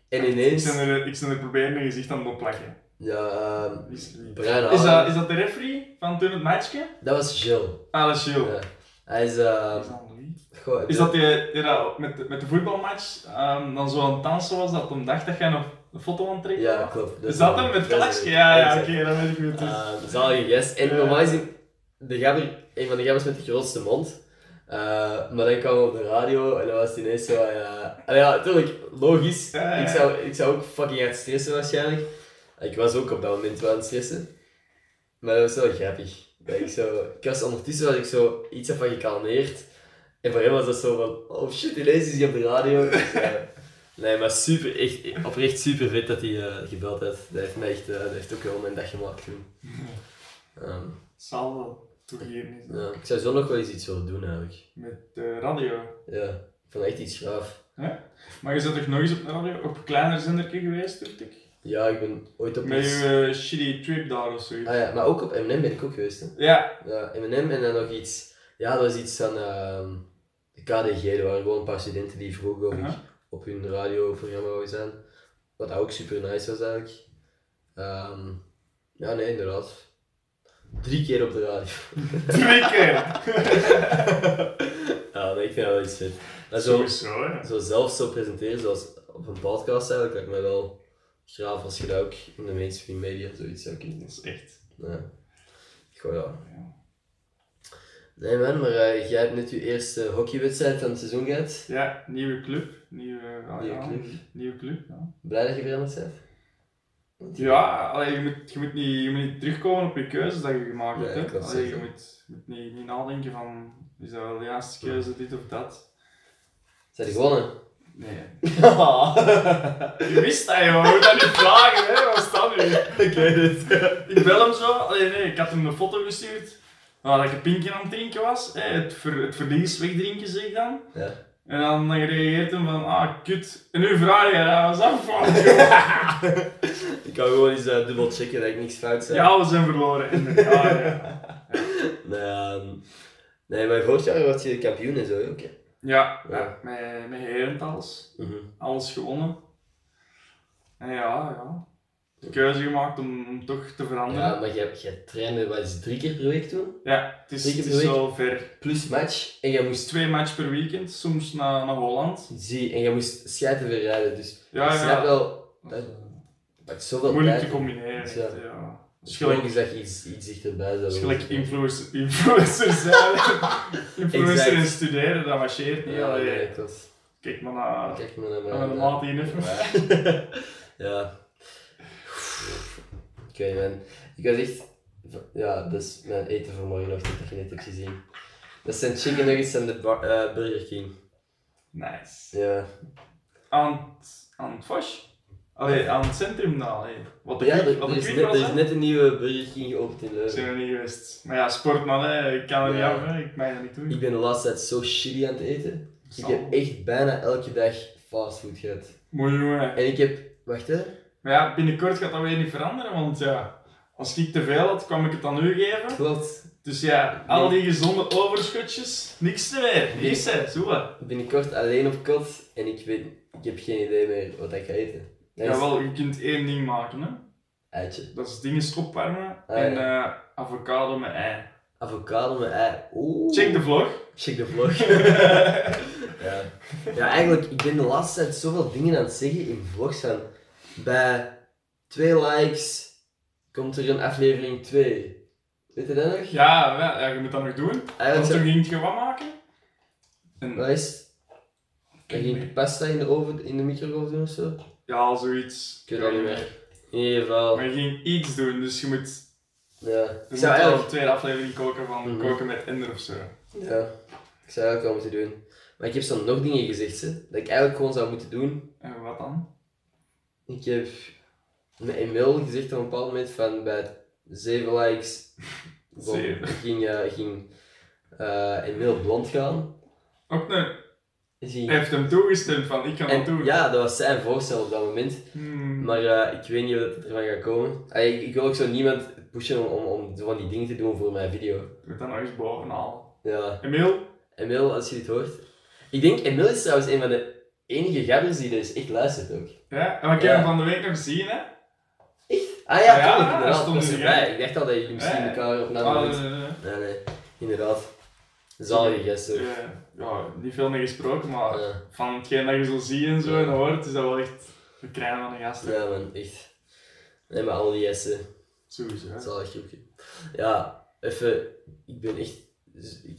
Speaker 1: En
Speaker 2: Ik
Speaker 1: ineens...
Speaker 2: ben er, ik ben er proberen een gezicht aan te plakken.
Speaker 1: Ja, ehm,
Speaker 2: Is,
Speaker 1: bruine
Speaker 2: is, dat,
Speaker 1: haren.
Speaker 2: is dat de referee van toen het matchje?
Speaker 1: Dat was Jill.
Speaker 2: Ah, dat is Jill.
Speaker 1: Ja. Hij is... ehm,
Speaker 2: Is dat Louis?
Speaker 1: goh,
Speaker 2: Is dat die, die dat met, de- met de voetbalmatch ehm, dan zo aan het dansen was dat hem dacht dat jij nog een foto aan trekken?
Speaker 1: Ja, klopt.
Speaker 2: Is dat hem met klaksje? Ja, ja oké, dat weet ik niet. Dus.
Speaker 1: Eh, zalige gast. En
Speaker 2: Ja.
Speaker 1: normaal gezien, de gabber, een van de gabbers met de grootste mond. Eh, maar dan kwam we op de radio en dan was het ineens zo, ja... Allee, ja, natuurlijk, logisch.
Speaker 2: Ja, ja, ja.
Speaker 1: Ik, zou, ik zou ook fucking hard stressen waarschijnlijk. Ik was ook op dat moment wel aan het stressen. Maar dat was wel grappig. Dat ik, zo, ik was ondertussen was ik zo iets van gekalmeerd. En voor hem was dat zo van, oh shit, ineens is hij op de radio. Dus, ja. Nee, maar super, echt, oprecht super vet dat hij eh, gebeld heeft. Dat heeft, mij echt, eh, dat heeft ook wel mijn dag gemaakt toen. Ehm,
Speaker 2: Zal wel toegeven. is dat.
Speaker 1: ja. Ik zou zo nog wel eens iets willen doen eigenlijk.
Speaker 2: Met de radio.
Speaker 1: Ja, ik vond dat echt iets gaaf.
Speaker 2: Maar je bent toch nog eens op de radio, op een kleiner zenderke geweest, denk ik?
Speaker 1: Ja, ik ben ooit op
Speaker 2: Met
Speaker 1: iets-
Speaker 2: je eh, shitty trip daar of zoiets.
Speaker 1: Ah ja, maar ook op M&M ben ik ook geweest hè.
Speaker 2: Ja,
Speaker 1: Ja, M&M en dan nog iets... Ja, dat was iets van ehm, de KDG. Er waren gewoon een paar studenten die vroegen of ik
Speaker 2: Aha.
Speaker 1: op hun radioprogramma wou zijn. Wat ook super nice was eigenlijk. Ehm, ja, nee, inderdaad. Drie keer op de radio.
Speaker 2: twee keer.
Speaker 1: Ja, nee, ik vind dat wel iets vet. Dat is zo,
Speaker 2: Sowieso, hè.
Speaker 1: zo zelf zo presenteren, zoals op een podcast eigenlijk, lijkt mij wel graaf als je dat ook in de mainstream media zoiets zou kunnen doen.
Speaker 2: Dat is echt...
Speaker 1: Ja. Goh, ja.
Speaker 2: Ja.
Speaker 1: Nee man, maar eh, jij hebt net je eerste hockeywedstrijd van het seizoen gehad.
Speaker 2: Ja, nieuwe club. Nieuwe, ah,
Speaker 1: Nieuwe
Speaker 2: ja,
Speaker 1: club.
Speaker 2: Nieuwe club, ja.
Speaker 1: Blij dat je veranderd bent?
Speaker 2: Ja, allee, je, moet, je, moet niet, je moet niet terugkomen op je keuzes dat je gemaakt
Speaker 1: Nee,
Speaker 2: hebt.
Speaker 1: ik
Speaker 2: hè.
Speaker 1: was
Speaker 2: Allee, je
Speaker 1: zeggen.
Speaker 2: moet, je moet niet, niet nadenken van, is dat wel de juiste keuze, dit of dat.
Speaker 1: Zijn je gewonnen?
Speaker 2: Nee. Je wist dat, joh. Je moet dat niet vragen, hè. Wat is dat nu?
Speaker 1: Ik weet het.
Speaker 2: Ik bel hem zo. Allee, nee, ik had hem een foto gestuurd. Waar dat ik een pinkje aan het drinken was. Hè, het, ver, het verlies wegdrinken, zeg ik dan.
Speaker 1: Ja.
Speaker 2: En dan reageert hem van, ah, kut. En nu vraag je, dat was dat fout, joh.
Speaker 1: Ik kan gewoon eens eh, dubbel checken dat ik niks fout zei.
Speaker 2: Ja, we zijn verloren. En, ja, ja.
Speaker 1: Nee, ehm, nee, maar vorig jaar was je kampioen en zo, hè, oké.
Speaker 2: ja, ja, met, met Herentals.
Speaker 1: Mhm.
Speaker 2: Alles gewonnen. En ja, ja. De keuze gemaakt om, om toch te veranderen.
Speaker 1: Ja,
Speaker 2: Ja,
Speaker 1: maar jij, jij trainde wat is het, drie keer per week toen?
Speaker 2: het is,
Speaker 1: Drie keer
Speaker 2: het is
Speaker 1: per week.
Speaker 2: zo ver.
Speaker 1: Plus match. En jij moest
Speaker 2: Twee match per weekend, soms naar, naar Holland.
Speaker 1: Zie, en jij moest schijten weer rijden, dus
Speaker 2: Ja,
Speaker 1: ik snap
Speaker 2: ja.
Speaker 1: wel, dat maakt zoveel
Speaker 2: Moeilijk
Speaker 1: tijd.
Speaker 2: te combineren.
Speaker 1: Dus ja.
Speaker 2: echt, ja.
Speaker 1: Het
Speaker 2: Dus
Speaker 1: is
Speaker 2: gelijk-
Speaker 1: gewoon eens dat je iets, iets dichterbij zou
Speaker 2: dus
Speaker 1: willen.
Speaker 2: gelijk influencer, influencer zijn. influencer en
Speaker 1: Exact.
Speaker 2: studeren, dat marcheert niet.
Speaker 1: Ja,
Speaker 2: allee.
Speaker 1: nee, klopt.
Speaker 2: Kijk maar naar...
Speaker 1: Kijk maar naar
Speaker 2: naar de maat hier even.
Speaker 1: Ja. ja. Ik weet niet, man. Ik was echt... Ja, dat is mijn eten voor morgenochtend dat je net hebt gezien. Dat zijn chicken nuggets en de bar- eh, Burger King.
Speaker 2: Nice.
Speaker 1: Ja.
Speaker 2: Aan, het- aan het Foch? Allee, aan het centrum dan. Allee. Wat de
Speaker 1: Ja,
Speaker 2: Kwik-
Speaker 1: er,
Speaker 2: wat
Speaker 1: er
Speaker 2: de
Speaker 1: is
Speaker 2: Kwik
Speaker 1: net,
Speaker 2: was,
Speaker 1: er is
Speaker 2: hè?
Speaker 1: net een nieuwe Burger King geopend in Leuven.
Speaker 2: Zijn we niet geweest. Maar ja, sportman, hè. ik kan er niet
Speaker 1: Ja.
Speaker 2: af, hè. ik mag dat niet doen.
Speaker 1: Ik ben de laatste tijd zo shitty aan het eten. Ik
Speaker 2: Zal-
Speaker 1: heb echt bijna elke dag fastfood gehad.
Speaker 2: Mooi jongen.
Speaker 1: En ik heb, wacht hè,
Speaker 2: Maar ja, binnenkort gaat dat weer niet veranderen, want ja, als ik te veel had, kwam ik het aan u geven.
Speaker 1: klopt.
Speaker 2: Dus ja, al die gezonde overschotjes, niks meer. Niks hè, zo wat.
Speaker 1: Binnenkort alleen op kot en ik weet, ik heb geen idee meer wat ik ga eten. Dat is
Speaker 2: Jawel, je kunt één ding maken, hè.
Speaker 1: Eitje.
Speaker 2: Dat is dingen opwarmen
Speaker 1: Ah,
Speaker 2: en eh, avocado met ei.
Speaker 1: Avocado met ei. Oeh.
Speaker 2: Check de vlog.
Speaker 1: Check de vlog. ja. ja, eigenlijk, ik ben de laatste tijd zoveel dingen aan het zeggen in vlogs van, bij twee likes komt er een aflevering 2. Weet je dat nog?
Speaker 2: Ja, ja, ja, je moet dat nog doen. Want
Speaker 1: Eigenlijk
Speaker 2: toen
Speaker 1: zou-
Speaker 2: ging je wat maken. En,
Speaker 1: Wat is het? Dan ging ik pasta in de, oven, in de microgolf doen of zo?
Speaker 2: ja, zoiets.
Speaker 1: Ik weet dat niet meer. In ieder geval.
Speaker 2: Maar je ging iets doen, dus je moet
Speaker 1: Ja.
Speaker 2: Je
Speaker 1: Ik
Speaker 2: moet
Speaker 1: zou
Speaker 2: wel een
Speaker 1: eigenlijk...
Speaker 2: tweede aflevering koken van
Speaker 1: Mhm.
Speaker 2: koken met Ender of zo.
Speaker 1: Ja. Ik zou eigenlijk wel moeten doen. Maar ik heb zo nog dingen gezegd, hè, dat ik eigenlijk gewoon zou moeten doen.
Speaker 2: En wat dan?
Speaker 1: Ik heb mijn e-mail gezegd op een bepaald moment van bij 7 likes bon,
Speaker 2: Zeven.
Speaker 1: ging, eh ging eh Emil blond gaan.
Speaker 2: Ook nee,
Speaker 1: Ging,
Speaker 2: hij heeft hem toegestemd van ik kan dat
Speaker 1: en,
Speaker 2: doen.
Speaker 1: ja, dat was zijn voorstel op dat moment.
Speaker 2: Hmm.
Speaker 1: Maar eh, ik weet niet of het ervan gaat komen. Ah, ik, ik wil ook zo niemand pushen om, om, om zo van die dingen te doen voor mijn video.
Speaker 2: Doe het dan nog eens bovenal.
Speaker 1: Ja.
Speaker 2: Emil?
Speaker 1: Emil, als je dit hoort. Ik denk, Emil is trouwens een van de enige gabbers die dus echt luistert ook.
Speaker 2: Ja? En we kunnen
Speaker 1: Ja.
Speaker 2: hem van de week nog zien, hè?
Speaker 1: Ah ja,
Speaker 2: Ja,
Speaker 1: tuurlijk,
Speaker 2: hij
Speaker 1: inderdaad.
Speaker 2: stond
Speaker 1: Dat is
Speaker 2: in de
Speaker 1: erbij.
Speaker 2: gang.
Speaker 1: Ik dacht al dat jullie misschien
Speaker 2: Ja.
Speaker 1: elkaar op naam
Speaker 2: Ah,
Speaker 1: noemt.
Speaker 2: eh,
Speaker 1: Nee, nee. Inderdaad. Zalige gasten.
Speaker 2: eh, ja, niet veel meer gesproken, maar
Speaker 1: Ja.
Speaker 2: van hetgeen dat je zo ziet en zo
Speaker 1: Ja.
Speaker 2: en hoort, is dat wel echt we krijgen van de gasten.
Speaker 1: Ja man, echt. Nee, maar al die gasten.
Speaker 2: Sowieso. hè.
Speaker 1: Zalig groepje. Ja, even. Ik ben echt.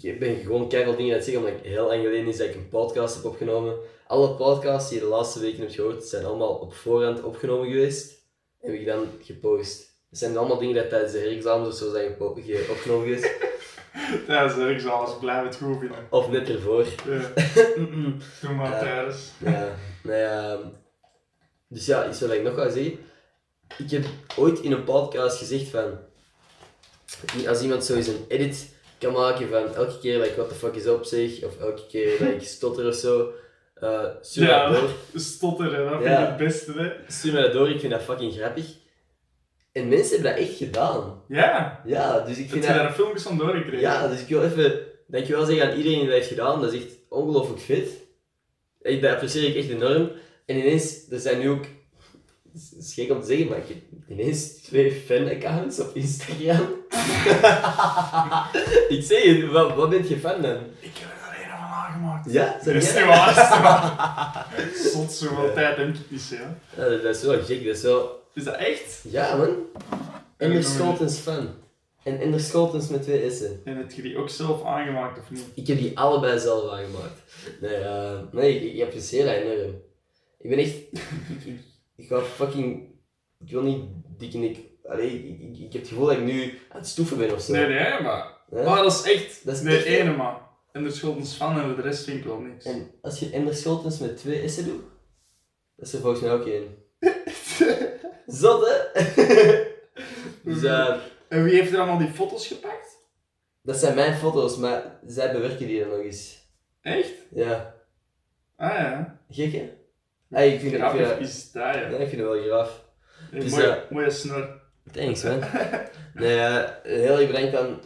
Speaker 1: Ik ben gewoon keihard dingen aan het zeggen, omdat ik heel lang geleden is dat ik een podcast heb opgenomen. Alle podcasts die je de laatste weken hebt gehoord, zijn allemaal op voorhand opgenomen geweest. En heb ik dan gepost. Het zijn allemaal dingen dat tijdens de herexamens of zo zijn gepo- ge- opgenomen geweest.
Speaker 2: Tijdens de ik zal alles blijven het goed vinden.
Speaker 1: Of net ervoor.
Speaker 2: Ja, doe maar
Speaker 1: Ja.
Speaker 2: tijdens.
Speaker 1: Ja, nou ja. Dus ja, iets wat ik nog ga zeggen. Ik heb ooit in een podcast gezegd van... Als iemand zo eens een edit kan maken van elke keer dat ik what the fuck is op zeg, of elke keer dat ik stotter of zo, eh, stuur
Speaker 2: Ja.
Speaker 1: dat door.
Speaker 2: Stotteren, dat vind
Speaker 1: Ja.
Speaker 2: ik het beste, hè?
Speaker 1: Stuur mij dat door, ik vind dat fucking grappig. En mensen hebben dat echt gedaan.
Speaker 2: Ja,
Speaker 1: Ja, dus ik
Speaker 2: ik heb
Speaker 1: vind
Speaker 2: je daar filmpjes van doorgekregen.
Speaker 1: Ja, dus ik wil even dankjewel zeggen aan iedereen die dat heeft gedaan. Dat is echt ongelooflijk fit. Ik, dat apprecieer ik echt enorm. En ineens, er zijn nu ook, het is gek om te zeggen, maar ik heb ineens twee fan-accounts op Instagram. ik zeg je, wat, wat ben je fan dan?
Speaker 2: Ik heb er alleen van aangemaakt.
Speaker 1: Ja,
Speaker 2: Dat
Speaker 1: zeg
Speaker 2: is
Speaker 1: jij?
Speaker 2: niet waar, is niet waar. Zot, zoveel
Speaker 1: Ja.
Speaker 2: tijd heb ik niet, hè?
Speaker 1: Ja, Ah, dat dat is wel gek, dat is wel...
Speaker 2: Is dat echt?
Speaker 1: Ja man, Ender Scholtens fan. En Ender Scholtens met twee s'en.
Speaker 2: En heb je die ook zelf aangemaakt of niet?
Speaker 1: Ik heb die allebei zelf aangemaakt. Nee, eh, nee ik, ik apprecieer dat enorm. Ik ben echt... ik, ik, ik ga fucking... Ik wil niet dik en ik... Allee, ik, ik, ik heb het gevoel dat ik nu aan het stoeven ben of zo.
Speaker 2: Nee, nee, maar.
Speaker 1: Hè?
Speaker 2: Maar dat is echt.
Speaker 1: Dat is
Speaker 2: de
Speaker 1: echt-
Speaker 2: ene, man. En er schuld ons van en voor de rest vind ik wel niks.
Speaker 1: En als je Ender Scholtens met twee S'en doet, dat is er volgens mij ook één. Zot, hè? dus eh,
Speaker 2: En wie heeft er allemaal die foto's gepakt?
Speaker 1: dat zijn mijn foto's, maar zij bewerken die dan nog eens.
Speaker 2: Echt?
Speaker 1: Ja.
Speaker 2: Ah ja.
Speaker 1: Gek, hè? Nee, Ah, ik vind ik vind
Speaker 2: Grappig
Speaker 1: dat...
Speaker 2: is dat, ja.
Speaker 1: Nee, ik vind het wel graaf.
Speaker 2: Hey,
Speaker 1: Dus,
Speaker 2: mooie,
Speaker 1: eh,
Speaker 2: mooie snor.
Speaker 1: Thanks man. nee, eh, heel erg bedankt aan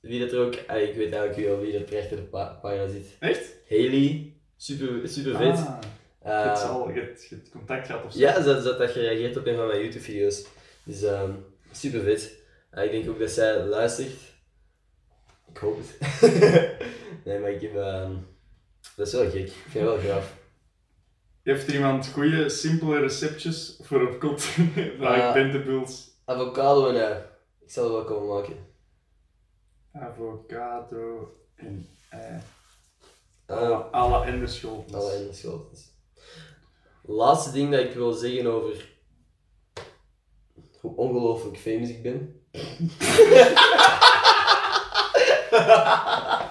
Speaker 1: wie dat er ook. ah, ik weet eigenlijk wel wie dat er achter de pa- pagina zit.
Speaker 2: Echt?
Speaker 1: Haley, super, super vet.
Speaker 2: Ah,
Speaker 1: Eh,
Speaker 2: je hebt al je hebt- je hebt contact gehad of zo.
Speaker 1: ja, ze had, ze had dat gereageerd op een van mijn YouTube video's. Dus ehm super vet. Eh, ik denk ook dat zij luistert. Ik hoop het. nee, maar ik heb. ehm, dat is wel gek. Ik vind het wel graaf.
Speaker 2: Heeft er iemand goede, simpele receptjes voor op kot? Vraag
Speaker 1: Ah.
Speaker 2: ik Bentebuls.
Speaker 1: Avocado en ei. Ik zal het wel komen maken.
Speaker 2: Avocado en ei.
Speaker 1: Eh,
Speaker 2: Alle enderscholtens.
Speaker 1: Alle in de school. Laatste ding dat ik wil zeggen over hoe ongelooflijk famous ik ben.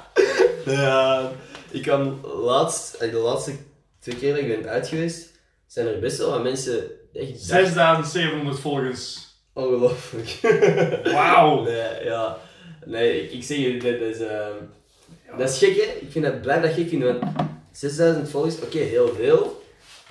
Speaker 1: ja, ik kan laatst, eh, de laatste twee keer dat ik ben uit geweest, zijn er best wel wat mensen echt
Speaker 2: 6700 volgers.
Speaker 1: ongelooflijk.
Speaker 2: Wauw.
Speaker 1: Nee, ja. Nee, ik, ik zeg jullie, dat is, ehm, dat is gek, hè? Ik vind dat blijf dat gek vinden, want 6000 volgers, oké, heel veel,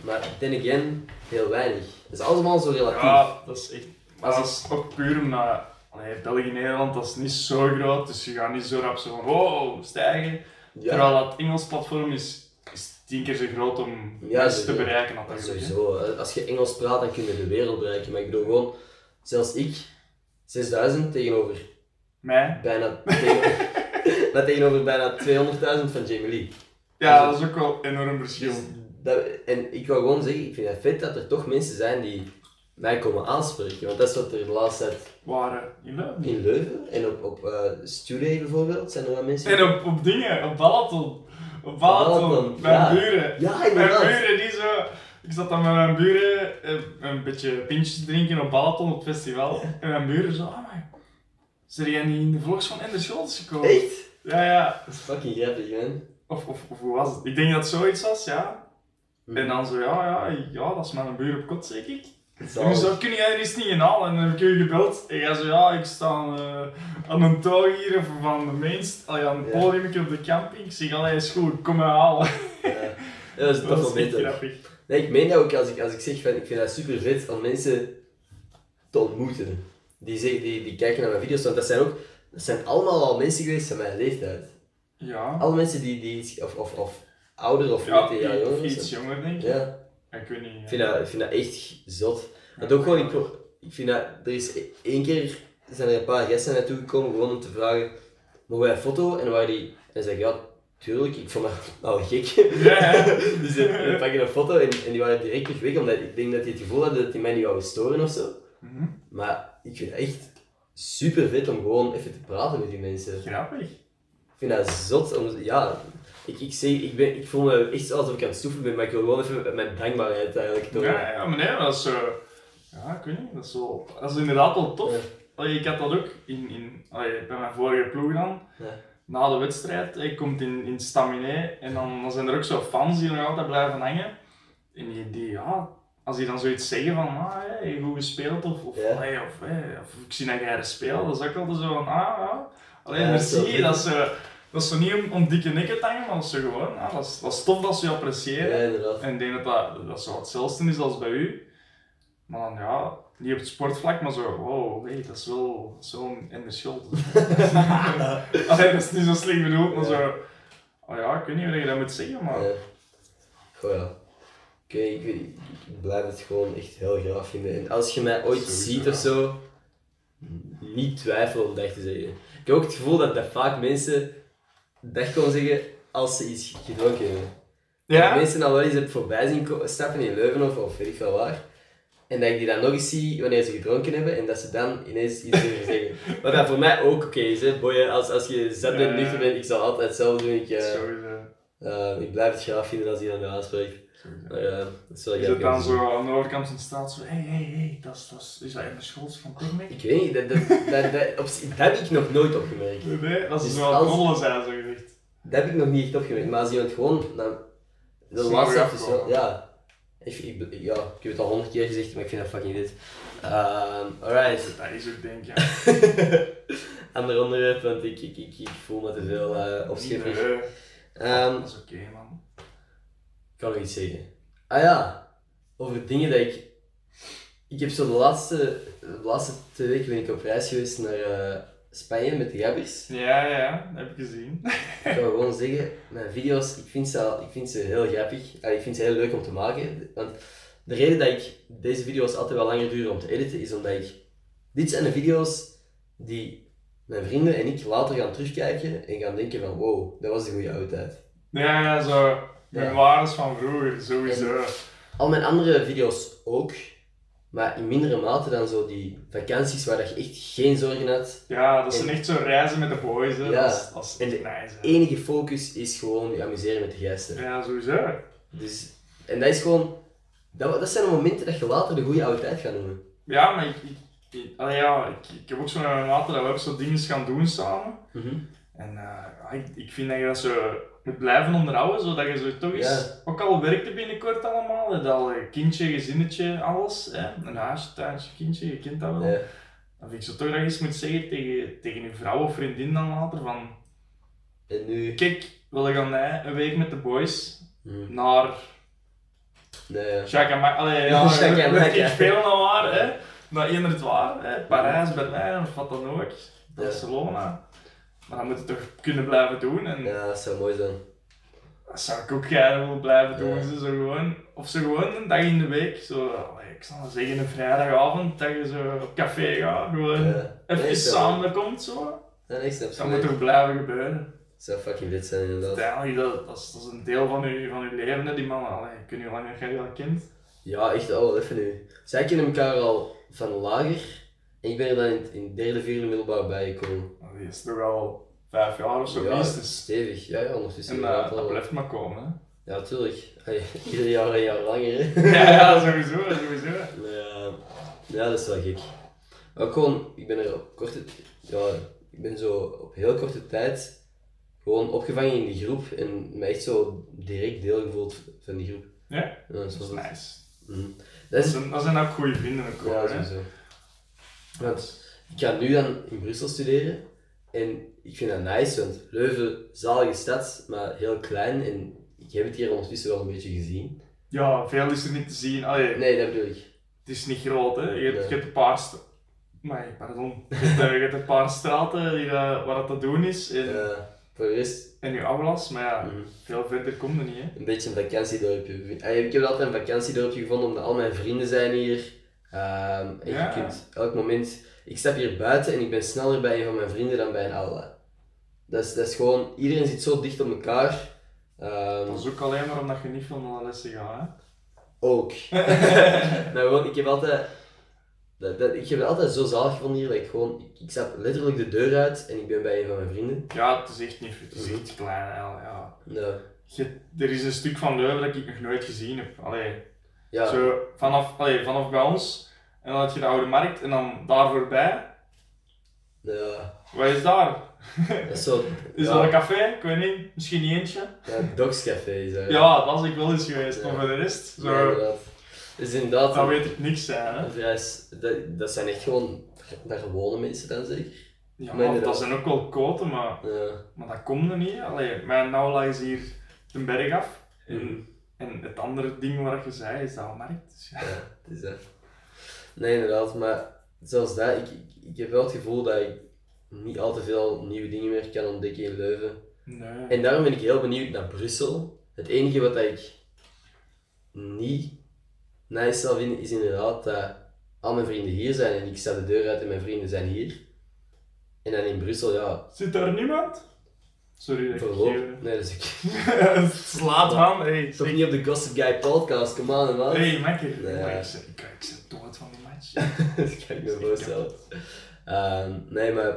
Speaker 1: maar then again, heel weinig. Dat is allemaal zo relatief.
Speaker 2: Ja, dat is echt. Maar
Speaker 1: Als-
Speaker 2: dat is ook puur omdat allee, België-Nederland dat is niet zo groot, dus je gaat niet zo rap zo van wow, stijgen.
Speaker 1: Ja,
Speaker 2: Terwijl dat Engels platform is, is tien keer zo groot om
Speaker 1: Ja,
Speaker 2: mensen te
Speaker 1: sowieso.
Speaker 2: bereiken
Speaker 1: dat is
Speaker 2: natuurlijk. hè.
Speaker 1: sowieso. eh, Als je Engels praat, dan kun je de wereld bereiken, maar ik bedoel gewoon, zelfs ik, 6000 tegenover
Speaker 2: Mij?
Speaker 1: bijna, tegenover, maar tegenover bijna 200.000 van Jamie Lee.
Speaker 2: Ja, dat is ook wel een enorm verschil.
Speaker 1: Dus dat, en ik wil gewoon zeggen, ik vind het vet dat er toch mensen zijn die mij komen aanspreken. Want dat is wat er de laatste tijd
Speaker 2: Waren in Leuven.
Speaker 1: in Leuven en op, op eh Studie bijvoorbeeld zijn er wel mensen.
Speaker 2: En op, op dingen, op Balaton. Op Balaton,
Speaker 1: Balaton,
Speaker 2: mijn
Speaker 1: ja.
Speaker 2: buren.
Speaker 1: Ja,
Speaker 2: Mijn
Speaker 1: inderdaad.
Speaker 2: buren die zo. Ik zat dan met mijn buren eh, een beetje pintjes te drinken op Balaton op het festival. En mijn buren zo, ah maar. Zijn jij niet in de vlogs van Ender Scholz gekomen?
Speaker 1: Echt?
Speaker 2: Ja, ja.
Speaker 1: Dat is fucking grappig, man.
Speaker 2: Of, of, of hoe was het? Ik denk dat het zoiets was, ja.
Speaker 1: Hmm.
Speaker 2: En dan zo, ja, ja, ja, dat is mijn buur op kot, zeg ik. En toen
Speaker 1: eh.
Speaker 2: zo, kun jij er eens niet in halen? En dan heb ik u gebeld. En jij zo, ja, ik sta eh, aan een touw hier of van de mainst. Allee, aan het
Speaker 1: Ja.
Speaker 2: podium op de camping. Ik zeg, allee, is goed, kom mij halen.
Speaker 1: Ja, Ja, dat is toch
Speaker 2: Dat
Speaker 1: wel
Speaker 2: is echt
Speaker 1: beter.
Speaker 2: grappig.
Speaker 1: Nee, ik meen dat ook als ik, als ik zeg van ik vind dat super vet om mensen te ontmoeten. Die, zeggen, die, die kijken naar mijn video's, want dat zijn ook, dat zijn allemaal al mensen geweest van mijn leeftijd.
Speaker 2: Ja.
Speaker 1: Alle mensen die, die iets, of, of, of ouder of
Speaker 2: Ja,
Speaker 1: 14 jaar
Speaker 2: i-
Speaker 1: jonger
Speaker 2: iets
Speaker 1: zijn.
Speaker 2: jonger, denk ik.
Speaker 1: eh, Ja,
Speaker 2: Ik weet niet. eh.
Speaker 1: ik
Speaker 2: ja.
Speaker 1: vind dat, ik vind dat echt zot. Want ook gewoon, ik, pro- ik vind dat, er is e- één keer, zijn er een paar gasten naartoe gekomen gewoon om te vragen, mogen wij een foto? En dan waren die, en zei ik, ja, tuurlijk, ik vond dat nou gek.
Speaker 2: Ja, ja.
Speaker 1: Dus we we pakken een foto en, en die waren direct weer weg, omdat ik denk dat die het gevoel hadden dat die mij niet wouden storen of zo.
Speaker 2: Mhm.
Speaker 1: Maar ik vind het echt super vet om gewoon even te praten met die mensen.
Speaker 2: Grappig.
Speaker 1: Ik vind dat zot om, ja, ik, ik, zeg, ik, ben, ik voel me echt alsof ik aan het stoeven ben, maar ik wil gewoon even mijn dankbaarheid eigenlijk tonen.
Speaker 2: Ja, ja, maar nee, dat is zo... Ja, ik weet niet, dat is, wel, dat is inderdaad wel tof.
Speaker 1: Ja.
Speaker 2: Allee, ik had dat ook in, in, allee, bij mijn vorige ploeg dan.
Speaker 1: Ja.
Speaker 2: Na de wedstrijd, ik komt in, in Staminé en dan, dan zijn er ook zo fans die nog altijd blijven hangen. En die, die ja, als die dan zoiets zeggen van, ah, hey, goed gespeeld of, of,
Speaker 1: Ja.
Speaker 2: hey, of, hey, of ik zie dat jij er speelt, dat is ook altijd zo van, ah, ja. Alleen,
Speaker 1: Ja, dat is wel
Speaker 2: merci,
Speaker 1: goed.
Speaker 2: dat is, eh, dat is zo niet om, om dikke nikken te hangen, maar dat is zo gewoon, ah, dat, is, dat is tof dat ze je appreciëren.
Speaker 1: Ja, inderdaad.
Speaker 2: En ik denk dat dat, dat zo hetzelfde is als bij u. Maar dan ja, niet op het sportvlak, maar zo, wow, hey, dat is wel zo'n Ender Schuld. Allee, dat is niet zo slim bedoeld,
Speaker 1: Ja.
Speaker 2: maar zo... Oh ja, ik weet niet hoe je dat moet zeggen, maar...
Speaker 1: Ja. Goh ja. Oké, ik, weet- ik blijf het gewoon echt heel graag vinden. En als je mij ooit
Speaker 2: Sowieso,
Speaker 1: ziet
Speaker 2: ja.
Speaker 1: of zo, niet twijfel om dat te zeggen. Ik heb ook het gevoel dat, dat vaak mensen dat gewoon zeggen als ze iets gedronken hebben. Dat
Speaker 2: Ja?
Speaker 1: Mensen al wel eens heb voorbij zien ko- stappen in Leuven of, of weet ik veel waar. En dat ik die dan nog eens zie wanneer ze gedronken hebben en dat ze dan ineens iets durven zeggen. Wat dat voor mij ook oké is, hè, boeien. Als, als je zat bent,
Speaker 2: Ja.
Speaker 1: nuchter bent, ik zal altijd hetzelfde doen. Ik, eh,
Speaker 2: Sowieso.
Speaker 1: eh, ik blijf het graag vinden als iemand mij aanspreekt.
Speaker 2: Sowieso.
Speaker 1: Maar ja, dat is wel
Speaker 2: Is
Speaker 1: grappig
Speaker 2: het dan
Speaker 1: om te zien.
Speaker 2: zo aan de overkant van de straat zo, hey, hey, hey, dat is, dat is, is dat Ender Schultz van Picnic?
Speaker 1: Ik weet niet, dat, dat, dat, dat, op zich- dat heb ik nog nooit opgemerkt.
Speaker 2: Nee, nee, dat is
Speaker 1: Dus
Speaker 2: zo aan het
Speaker 1: als-
Speaker 2: rollen zijn, zo gezegd.
Speaker 1: Dat heb ik nog niet echt opgemerkt, maar als iemand gewoon... Dan, de
Speaker 2: Snel
Speaker 1: laatste
Speaker 2: reactie
Speaker 1: episode,
Speaker 2: gewoon.
Speaker 1: ja. Ik, ik, ja. ik heb het al honderd keer gezegd, maar ik vind dat fucking dit. Ehm, alright.
Speaker 2: Dat is ook denk ik, ja.
Speaker 1: Ander onderwerp, want ik, ik, ik, ik voel me te veel eh opschippig.
Speaker 2: Nee, nee.
Speaker 1: Ehm,
Speaker 2: Dat is oké, man.
Speaker 1: Ik kan nog iets zeggen. Ah ja, over dingen dat ik... Ik heb zo de laatste, de laatste twee weken ben ik op reis geweest naar eh, Spanje met de gabbers.
Speaker 2: Ja, ja, dat heb ik gezien.
Speaker 1: Ik wil gewoon zeggen, mijn video's, ik vind ze, al- ik vind ze heel grappig. En ik vind ze heel leuk om te maken. Want de reden dat ik deze video's altijd wel langer duren om te editen, is omdat ik... Dit zijn de video's die mijn vrienden en ik later gaan terugkijken en gaan denken van wow, dat was de goede oude tijd.
Speaker 2: Ja, ja, zo.
Speaker 1: Ja.
Speaker 2: Memoires van vroeger, sowieso.
Speaker 1: Al mijn andere video's ook, maar in mindere mate dan zo die vakanties waar dat je echt geen zorgen had.
Speaker 2: Ja, dat zijn echt zo reizen met de boys, hè.
Speaker 1: Ja.
Speaker 2: Dat is, dat is
Speaker 1: En
Speaker 2: echt
Speaker 1: de e-
Speaker 2: nice, hè.
Speaker 1: Enige focus is gewoon je amuseren met de geesten.
Speaker 2: Ja, sowieso.
Speaker 1: Dus, en dat is gewoon... Dat, dat zijn de momenten dat je later de goede oude tijd gaat noemen.
Speaker 2: Ja, maar ik... ik, ik- allee, ja, ik, ik heb ook zo met mijn maten dat we ook zo dingen gaan doen samen.
Speaker 1: Mhm.
Speaker 2: En eh, ja, ik, ik vind dat je dat zo moet blijven onderhouden, zodat je zo toch eens... Ook al werkt het binnenkort allemaal, hè, dat eh, kindje, gezinnetje, alles. Hè. Een huisje, tuintje, kindje, je kent dat wel.
Speaker 1: Ja.
Speaker 2: Dan vind ik zo toch dat je eens moet zeggen tegen, tegen je vrouw of vriendin dan later van...
Speaker 1: En nu...
Speaker 2: Kijk, we gaan eh, een week met de boys
Speaker 1: Hm,
Speaker 2: naar
Speaker 1: Nee, ja.
Speaker 2: Jacques en Mac, allee, ja,
Speaker 1: Jacques en Mac, ja.
Speaker 2: ik speel naar nou waar, hè. Naar eender het waar, hè. Parijs, Berlijn of wat dan ook. Barcelona. Maar dat moet je toch kunnen blijven doen. En
Speaker 1: ja, dat zou mooi zijn.
Speaker 2: dat zou ik ook graag willen blijven doen.
Speaker 1: Ja.
Speaker 2: Zo, zo gewoon, of zo gewoon een dag in de week. Zo, allee, ik zal zeggen een vrijdagavond dat je zo op café gaat. Gewoon
Speaker 1: Ja.
Speaker 2: even
Speaker 1: Nee, zou-
Speaker 2: samenkomt zo.
Speaker 1: Ja, nee, ik snap
Speaker 2: Dus
Speaker 1: het.
Speaker 2: dat
Speaker 1: Nee.
Speaker 2: moet toch blijven gebeuren.
Speaker 1: zou fucking dit zijn, inderdaad.
Speaker 2: Uiteindelijk, dat, dat, is, dat is een deel van je, van je leven, hè, die mannen. Allee, ik weet niet hoe lang jij dat kent.
Speaker 1: Ja, echt al wel even nu. Zij kennen elkaar al van lager. En ik ben er dan in, in derde, vierde middelbaar bijgekomen.
Speaker 2: Maar Die is toch al vijf jaar of zo
Speaker 1: Ja,
Speaker 2: minstens.
Speaker 1: stevig. Ja, ja, ondertussen
Speaker 2: En eh,
Speaker 1: inderdaad
Speaker 2: dat
Speaker 1: al.
Speaker 2: blijft maar komen. Hè.
Speaker 1: Ja, tuurlijk. Allee, Ieder jaar een jaar langer, hè.
Speaker 2: Ja, ja, sowieso, sowieso.
Speaker 1: Maar, eh, ja, dat is wel gek. Maar gewoon, ik ben er op korte... Ja, ik ben zo op heel korte tijd gewoon opgevangen in die groep en me echt zo direct deel gevoeld van die groep.
Speaker 2: Ja?
Speaker 1: dat is
Speaker 2: Dat is
Speaker 1: wel goed.
Speaker 2: nice.
Speaker 1: Mhm.
Speaker 2: Dat
Speaker 1: Dat is...
Speaker 2: zijn, dat zijn ook goede vrienden ook
Speaker 1: Ja,
Speaker 2: gewoon, hè.
Speaker 1: sowieso. Want ik ga nu dan in Brussel studeren en ik vind dat nice, want Leuven, zalige stad, maar heel klein en ik heb het hier ondertussen wel een beetje gezien.
Speaker 2: Ja, veel is er niet te zien. Allee,
Speaker 1: Nee, dat bedoel ik.
Speaker 2: het is niet groot, hè. Je hebt,
Speaker 1: Nee.
Speaker 2: je hebt een paar... st- Nee, pardon. Je hebt, eh, je hebt een paar straten die, eh, waar dat te doen is. En,
Speaker 1: Eh, voor de rest,
Speaker 2: en je afwas, maar ja,
Speaker 1: mhm.
Speaker 2: veel verder komt er niet, hè.
Speaker 1: een beetje een vakantiedorpje. Ah, Ik heb altijd een vakantiedorpje gevonden, omdat al mijn vrienden zijn hier. Ehm en
Speaker 2: Ja.
Speaker 1: je kunt elk moment... Ik stap hier buiten en ik ben sneller bij een van mijn vrienden dan bij een aula. Dat is, dat is gewoon... Iedereen zit zo dicht op elkaar. Ehm,
Speaker 2: Dat is ook alleen maar omdat je niet veel naar de lessen gaat, hè.
Speaker 1: ook. maar gewoon, ik heb altijd... Dat, dat- ik heb het altijd zo zalig gevonden hier, dat ik gewoon... Ik, ik stap letterlijk de deur uit en ik ben bij een van mijn vrienden.
Speaker 2: Ja, het is echt niet... Het is echt klein, hè. Ja.
Speaker 1: Nou,
Speaker 2: Je- er is een stuk van Leuven dat ik nog nooit gezien heb. Allee...
Speaker 1: ja.
Speaker 2: Zo, vanaf, allee, vanaf bij ons, en dan had je de oude markt, en dan daar voorbij.
Speaker 1: Nou, Ja.
Speaker 2: Wat is daar?
Speaker 1: Dat is zo...
Speaker 2: Is
Speaker 1: ja,
Speaker 2: dat een café? Ik weet niet, misschien niet eentje.
Speaker 1: ja, Dogscafé is dat.
Speaker 2: Ja, dat is ik wel eens geweest,
Speaker 1: Ja.
Speaker 2: maar voor de rest,
Speaker 1: Ja,
Speaker 2: zo,
Speaker 1: inderdaad. Dus inderdaad...
Speaker 2: dat weet ik niks zijn. Hè.
Speaker 1: Vrij- dat, dat zijn echt gewoon daar gewone mensen dan zeker.
Speaker 2: Ja,
Speaker 1: Maar
Speaker 2: maar dat
Speaker 1: inderdaad.
Speaker 2: zijn ook wel koten, maar,
Speaker 1: Ja.
Speaker 2: maar dat komt er niet. hè. Allee, mijn aula is hier de berg af. En,
Speaker 1: Mhm.
Speaker 2: en het andere ding waar je zei, is dat markt. Dus ja.
Speaker 1: ja, het is dat. Nee, inderdaad, maar zelfs dat, ik, ik, ik heb wel het gevoel dat ik niet al te veel nieuwe dingen meer kan ontdekken in Leuven.
Speaker 2: Nee.
Speaker 1: En daarom ben ik heel benieuwd naar Brussel. Het enige wat ik niet nice zal vinden is inderdaad dat al mijn vrienden hier zijn en ik sta de deur uit en mijn vrienden zijn hier. En dan in Brussel, ja,
Speaker 2: Zit daar niemand? Sorry dat ik
Speaker 1: verloren.
Speaker 2: je...
Speaker 1: Nee, dat is oké.
Speaker 2: Het is laat man, hey.
Speaker 1: Toch niet op de Gossip Guy podcast, come on man.
Speaker 2: Hey, makker.
Speaker 1: Nee.
Speaker 2: Maar ik zit- ik- Ik zit dood van die match.
Speaker 1: dat kan ik me voorstellen. Ehm, nee, maar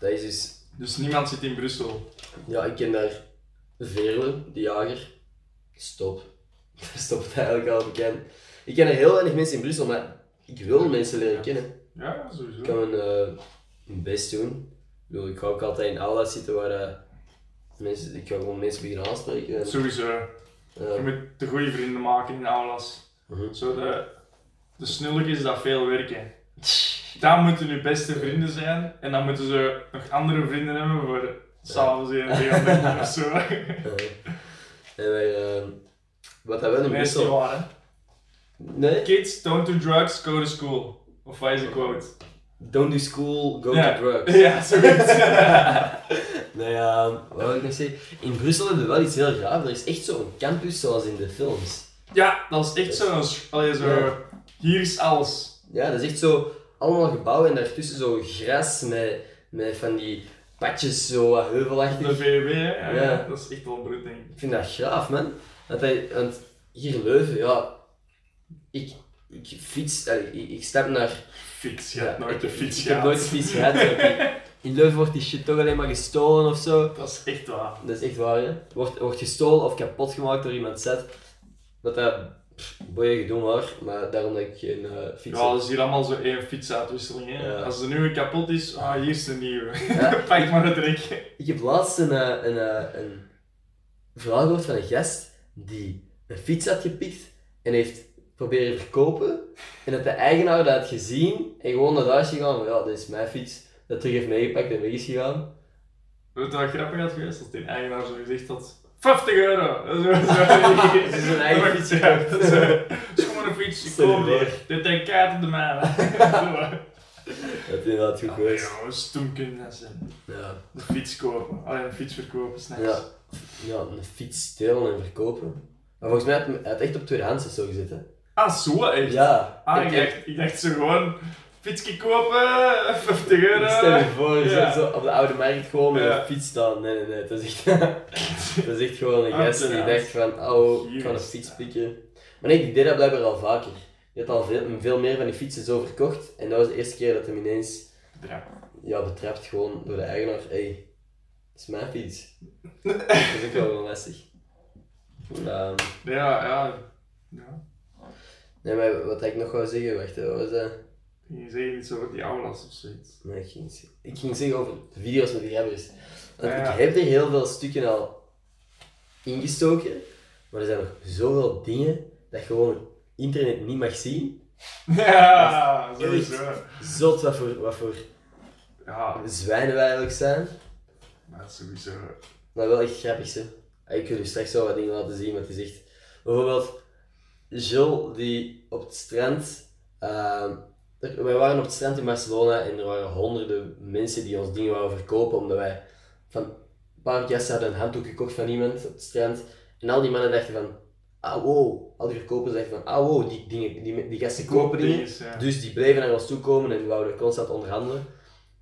Speaker 1: dat is dus.
Speaker 2: Dus niemand zit in Brussel.
Speaker 1: Ja, ik ken daar Veerle, de jager. Stop. Stop eigenlijk al bekend. Ik ken er heel weinig mensen in Brussel, maar ik wil mensen leren kennen.
Speaker 2: Ja,
Speaker 1: Ik
Speaker 2: sowieso.
Speaker 1: kan mijn, eh, mijn best doen. Ik, bedoel, ik ga ook altijd in aula zitten waar eh, mensen, ik ga gewoon mensen beginnen aanspreken. En,
Speaker 2: Sowieso. Je
Speaker 1: eh,
Speaker 2: moet de goede vrienden maken in de aulas.
Speaker 1: mhm.
Speaker 2: Zo de, de snullig is dat veel werken. Dan moeten je beste vrienden zijn. En dan moeten ze nog andere vrienden hebben voor s'avonds in te gaan drinken of zo.
Speaker 1: Eh, en wij, eh, wat dat wel in
Speaker 2: Nee, is niet
Speaker 1: Brussel...
Speaker 2: waar, hè.
Speaker 1: Nee?
Speaker 2: Kids, don't do drugs, go to school. Of wat is de quote?
Speaker 1: Don't do school, go
Speaker 2: Ja.
Speaker 1: to drugs.
Speaker 2: Ja, zoiets.
Speaker 1: Nou ja, wat wil ik nog zeggen? In Brussel hebben we wel iets heel raar. Er is echt zo'n campus zoals in de films.
Speaker 2: ja, dat is echt zo. Allee, zo. Hier is alles.
Speaker 1: Ja, dat is echt zo allemaal gebouwen en daartussen zo gras met, met van die padjes zo wat
Speaker 2: De
Speaker 1: heuvelachtig.
Speaker 2: VW, hè? Ja,
Speaker 1: Ja.
Speaker 2: Dat is echt wel bruut, denk ik.
Speaker 1: Ik vind dat graaf, man. Want, hij, want hier in Leuven, ja, ik, ik fiets, eh, ik, ik stap naar...
Speaker 2: Fiets, je hebt
Speaker 1: ja,
Speaker 2: nooit
Speaker 1: ik-
Speaker 2: de fiets
Speaker 1: Ik heb
Speaker 2: gehad.
Speaker 1: nooit de fiets gehad. want in- In Leuven wordt die shit toch alleen maar gestolen of zo.
Speaker 2: Dat is echt waar.
Speaker 1: Dat is echt waar, hè. Wordt, wordt gestolen of kapot gemaakt door iemand zet. Dat dat pff, boeien gedoe maar, maar daarom dat ik geen eh fiets
Speaker 2: Ja,
Speaker 1: heb.
Speaker 2: dat is hier allemaal zo één fietsuitwisseling, hè.
Speaker 1: Ja.
Speaker 2: Als de nieuwe kapot is, ah, hier is de nieuwe.
Speaker 1: Ja,
Speaker 2: Pak maar het rekje.
Speaker 1: ik heb laatst een, eh, een, eh, een verhaal gehoord van een gast die een fiets had gepikt en heeft proberen verkopen. En dat de eigenaar dat had gezien en gewoon naar huis gegaan van ja, dit is mijn fiets. Dat terug heeft meegepakt en weg is gegaan.
Speaker 2: Weet je wat grappig had geweest? Dat die eigenaar zo gezegd had, 50 euro! Zo, zo.
Speaker 1: Het is een eigen fiets
Speaker 2: Ja,
Speaker 1: gekocht.
Speaker 2: dat is, eh, het is gewoon een fiets, ik
Speaker 1: Sorry,
Speaker 2: koop
Speaker 1: hoor.
Speaker 2: die. Dit heeft kaart op de maan.
Speaker 1: Dat is inderdaad goed geweest.
Speaker 2: Jongens, toen kun je dat zijn.
Speaker 1: Ja.
Speaker 2: De fiets kopen. Alleen een fiets verkopen, snap je?
Speaker 1: Ja. ja, een fiets stelen en verkopen. Maar volgens mij had hij het echt op tweedehands of zo gezet, hè.
Speaker 2: Ah, zo echt?
Speaker 1: Ja.
Speaker 2: Ah,
Speaker 1: ik,
Speaker 2: ik
Speaker 1: ik,
Speaker 2: dacht, ik dacht zo gewoon, fietsje kopen, 50
Speaker 1: ik stel je
Speaker 2: euro.
Speaker 1: voor, je
Speaker 2: Ja.
Speaker 1: zit zo op de oude markt gewoon met
Speaker 2: Ja.
Speaker 1: een fiets staan. Nee, nee, nee. Dat is echt, dat is echt gewoon een
Speaker 2: Ah,
Speaker 1: gast die
Speaker 2: inderdaad.
Speaker 1: dacht van, oh, ik ga een
Speaker 2: Juist.
Speaker 1: fiets pikken. Maar nee, die deed dat blijkbaar al vaker. Je had al veel, veel meer van die fietsen zo verkocht. En dat was de eerste keer dat hem ineens
Speaker 2: Ja.
Speaker 1: ja, betrapt gewoon door de eigenaar. hey, dat is mijn fiets. dat is ook wel lastig. Ehm,
Speaker 2: Ja, ja. ja.
Speaker 1: nee, maar wat ik nog wou zeggen, wacht, hè, wat was dat?
Speaker 2: Ik ging zeggen iets over die aulas of zoiets.
Speaker 1: Nee, ik, ging, z- ik ging zeggen over de video's met die rappers. Want
Speaker 2: Ah, ja.
Speaker 1: ik heb er heel veel stukken al ingestoken, maar er zijn nog zoveel dingen dat gewoon internet niet mag zien.
Speaker 2: Ja, sowieso.
Speaker 1: Zot wat voor, wat voor
Speaker 2: Ja,
Speaker 1: zwijnen wij eigenlijk zijn.
Speaker 2: maar sowieso.
Speaker 1: Maar wel echt grappig, hè. Ah, Ik wil u straks wel wat dingen laten zien, maar het is echt... Bijvoorbeeld, Jules die op het strand... ehm, er- wij waren op het strand in Barcelona en er waren honderden mensen die ons dingen wouden verkopen, omdat wij van een paar gasten hadden een handdoek gekocht van iemand op het strand. En al die mannen dachten van, ah wow, al die verkopers dachten van, ah wow, die, dingen, die, die gasten kopen dingen.
Speaker 2: Dinges, ja.
Speaker 1: Dus die bleven naar ons toe komen en die wouden constant onderhandelen.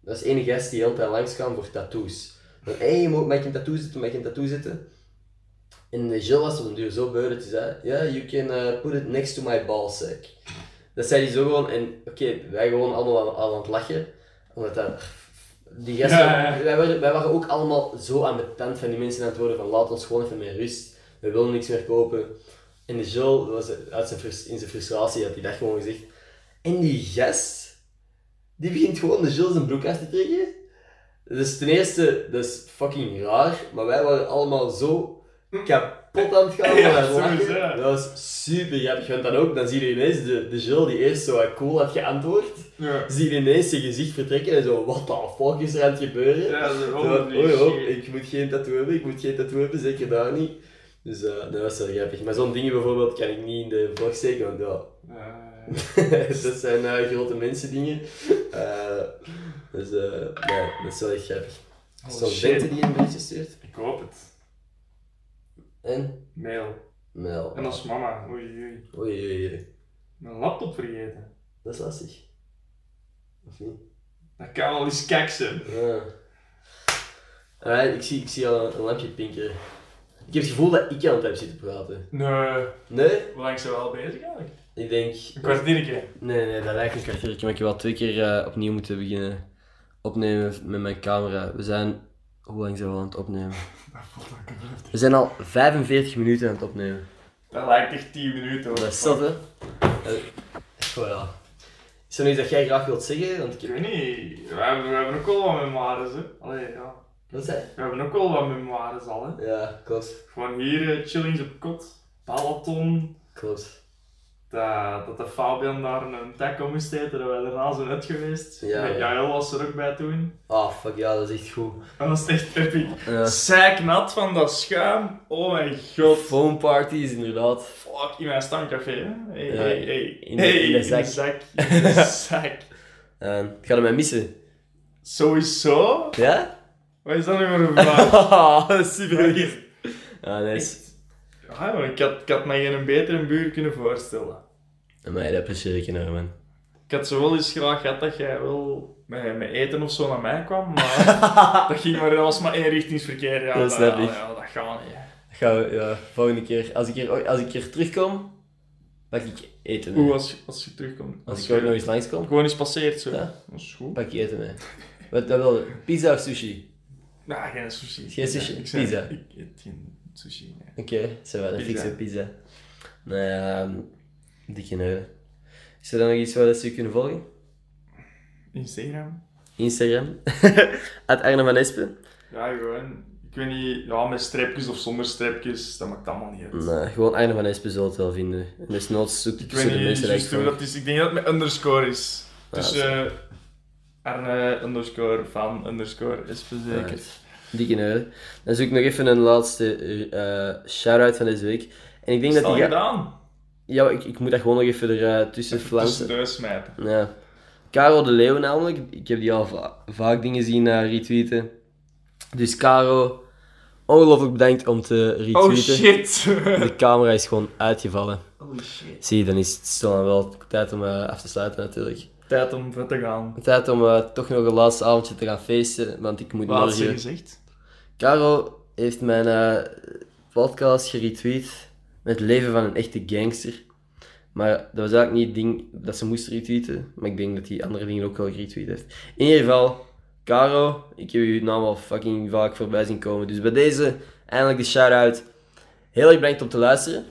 Speaker 1: Dat is één gast die heel tijd langs kwam voor tattoos. Van, hé, hey, mag ik een tattoo zitten, mag ik een tattoo zitten? En eh, Jill was op een duur zo beu dat hij zei, ja, you can eh, put it next to my ballsack. Dat zei hij zo gewoon, en oké, wij gewoon allemaal aan, aan het lachen. Omdat dat, die gasten,
Speaker 2: Ja, ja.
Speaker 1: Wij, waren, wij waren ook allemaal zo aan de tand van die mensen aan het worden van, laat ons gewoon even met rust, we willen niks meer kopen. En de Jules, was, uit zijn frus- in zijn frustratie, had hij dat gewoon gezegd. En die gast, die begint gewoon de Jules zijn broek uit te trekken. Dus ten eerste, dat is fucking raar, maar wij waren allemaal zo kapot aan het gaan.
Speaker 2: Ja,
Speaker 1: van het lachen.
Speaker 2: sowieso.
Speaker 1: dat was super grappig, want dan ook, dan zie je ineens de, de Jules die eerst zo wat cool had geantwoord,
Speaker 2: Ja,
Speaker 1: zie je ineens zijn gezicht vertrekken en zo, what the fuck is er aan het gebeuren?
Speaker 2: ja dat is een
Speaker 1: Zo van,
Speaker 2: honderd
Speaker 1: oei, hop,
Speaker 2: shit.
Speaker 1: ik moet geen tattoo hebben, ik moet geen tattoo hebben, zeker daar niet. Dus eh, dat was wel grappig. Maar zo'n dingen bijvoorbeeld kan ik niet in de vlog steken, want ja,
Speaker 2: Ja,
Speaker 1: dat zijn eh, grote mensen dingen. Eh, dus eh, ja, dat is wel echt grappig.
Speaker 2: Oh,
Speaker 1: Zo'n
Speaker 2: shit.
Speaker 1: Bente die een berichtje stuurt.
Speaker 2: Ik hoop het.
Speaker 1: En?
Speaker 2: Mail.
Speaker 1: Mel.
Speaker 2: En als mama. Oei, oei.
Speaker 1: Oei, oei, oei.
Speaker 2: Mijn laptop vergeten.
Speaker 1: Dat is lastig. Of niet?
Speaker 2: Dat kan wel eens kek zijn.
Speaker 1: Ja. Alright, ik zie, ik zie al een, een lampje pinkeren. Ik heb het gevoel dat ik aan het heb zitten praten.
Speaker 2: Nee.
Speaker 1: Nee?
Speaker 2: Hoe lang zijn we al bezig eigenlijk?
Speaker 1: Ik denk...
Speaker 2: Een kwartiertje.
Speaker 1: Nee, nee, dat lijkt een kwartiertje, maar ik heb wel twee keer eh, opnieuw moeten beginnen opnemen met mijn camera. We zijn... Hoe lang zijn we al aan het opnemen?
Speaker 2: Dat voelt ook een vijftien.
Speaker 1: We zijn al 45 minuten aan het opnemen.
Speaker 2: Dat lijkt echt 10 minuten hoor.
Speaker 1: Dat is zat, hè? Eh, Goh, ja. Is er nog iets dat jij graag wilt zeggen? Want ik
Speaker 2: Ik
Speaker 1: heb...
Speaker 2: weet niet. We hebben, we hebben ook wel wat memoires hè. Allee, ja.
Speaker 1: Wat zei?
Speaker 2: We hebben ook wel wat memoires al hè.
Speaker 1: Ja, klopt.
Speaker 2: Gewoon hier eh, chillings op kot. Peloton.
Speaker 1: Klopt.
Speaker 2: dat, dat de Fabian daar een taco moest eten, dat wij daarna zijn uit geweest.
Speaker 1: Ja,
Speaker 2: Ja,
Speaker 1: ja.
Speaker 2: Jael was er ook bij toen.
Speaker 1: Ah, fuck ja, dat is echt goed.
Speaker 2: Dat was echt epic.
Speaker 1: Ja.
Speaker 2: Zeiknat van dat schuim. Oh mijn god.
Speaker 1: Phone parties, inderdaad.
Speaker 2: Fuck, in mijn stamcafé. hè. Hey,
Speaker 1: Ja,
Speaker 2: hey, hey.
Speaker 1: in de-
Speaker 2: Hey,
Speaker 1: in de zak.
Speaker 2: zak. In de zak.
Speaker 1: Eh, ga je mij missen?
Speaker 2: Sowieso?
Speaker 1: Ja?
Speaker 2: Wat is dat nu voor een vraag?
Speaker 1: Super goed. Ah, nice.
Speaker 2: Ja, maar ik, had, ik had mij geen betere buur kunnen voorstellen.
Speaker 1: Amai, dat apprecieer ik enorm, man.
Speaker 2: Ik had zo wel eens graag gehad dat jij wel met, met eten of zo naar mij kwam, maar dat ging maar, dat was maar eenrichtingsverkeer. Ja,
Speaker 1: Dat snap ik.
Speaker 2: Ja, dat gaat niet.
Speaker 1: Gaan we, ja, volgende keer. Als ik hier, als ik hier terugkom, pak ik eten mee.
Speaker 2: Hoe als, als je terugkomt?
Speaker 1: Als ik ooit
Speaker 2: je
Speaker 1: nog eens langskom,
Speaker 2: gewoon eens passeert zo.
Speaker 1: Ja.
Speaker 2: Dat is goed.
Speaker 1: pak ik eten mee. Wat dat wil je? Pizza of sushi?
Speaker 2: Nou, geen sushi.
Speaker 1: Geen sushi,
Speaker 2: Ik zei-
Speaker 1: pizza.
Speaker 2: Ik eet geen sushi. nee.
Speaker 1: Oké, zo wel, dan
Speaker 2: Pizza.
Speaker 1: fixen we pizza. Nee, ehm dikke neuren. Is er dan nog iets waar dat ze je kunnen volgen?
Speaker 2: Instagram?
Speaker 1: Instagram. At Arne van Espen.
Speaker 2: Ja, gewoon. Ik weet niet, ja, met streepjes of zonder streepjes, dat maakt allemaal niet uit.
Speaker 1: Nee, Nou, gewoon Arne van Espen zult het wel vinden. En desnoods zoek
Speaker 2: Ik
Speaker 1: zoek
Speaker 2: weet
Speaker 1: de
Speaker 2: niet
Speaker 1: mensen die ik
Speaker 2: juist hoe
Speaker 1: volg.
Speaker 2: dat is. Ik denk dat het met underscore is.
Speaker 1: Ja,
Speaker 2: Dus eh Arne underscore van underscore is zeker.
Speaker 1: Alright. Dikke neuren. Dan zoek ik nog even een laatste eh shout-out van deze week. En ik denk
Speaker 2: Is
Speaker 1: dat
Speaker 2: dat
Speaker 1: die...
Speaker 2: al
Speaker 1: ga-
Speaker 2: gedaan?
Speaker 1: Ja, ik, ik moet dat gewoon nog even er eh, tussen flansen.
Speaker 2: Tussendoor smijten.
Speaker 1: Ja. Caro de Leeuw namelijk, ik heb die al va- vaak dingen zien eh, retweeten. Dus Caro, ongelooflijk bedankt om te retweeten.
Speaker 2: Oh shit!
Speaker 1: De camera is gewoon uitgevallen.
Speaker 2: oh shit.
Speaker 1: Zie je, dan is het stilaan wel tijd om eh, af te sluiten natuurlijk.
Speaker 2: Tijd om verder te gaan.
Speaker 1: Tijd om eh, toch nog een laatste avondje te gaan feesten, want ik moet
Speaker 2: Wat had ze
Speaker 1: morgen...
Speaker 2: gezegd?
Speaker 1: Caro heeft mijn eh, podcast geretweet met het leven van een echte gangster. Maar dat was eigenlijk niet het ding dat ze moest retweeten. Maar ik denk dat die andere dingen ook wel geretweet heeft. In ieder geval, Caro, ik heb uw naam al fucking vaak voorbij zien komen. Dus bij deze, eindelijk de shout-out. Heel erg bedankt om te luisteren.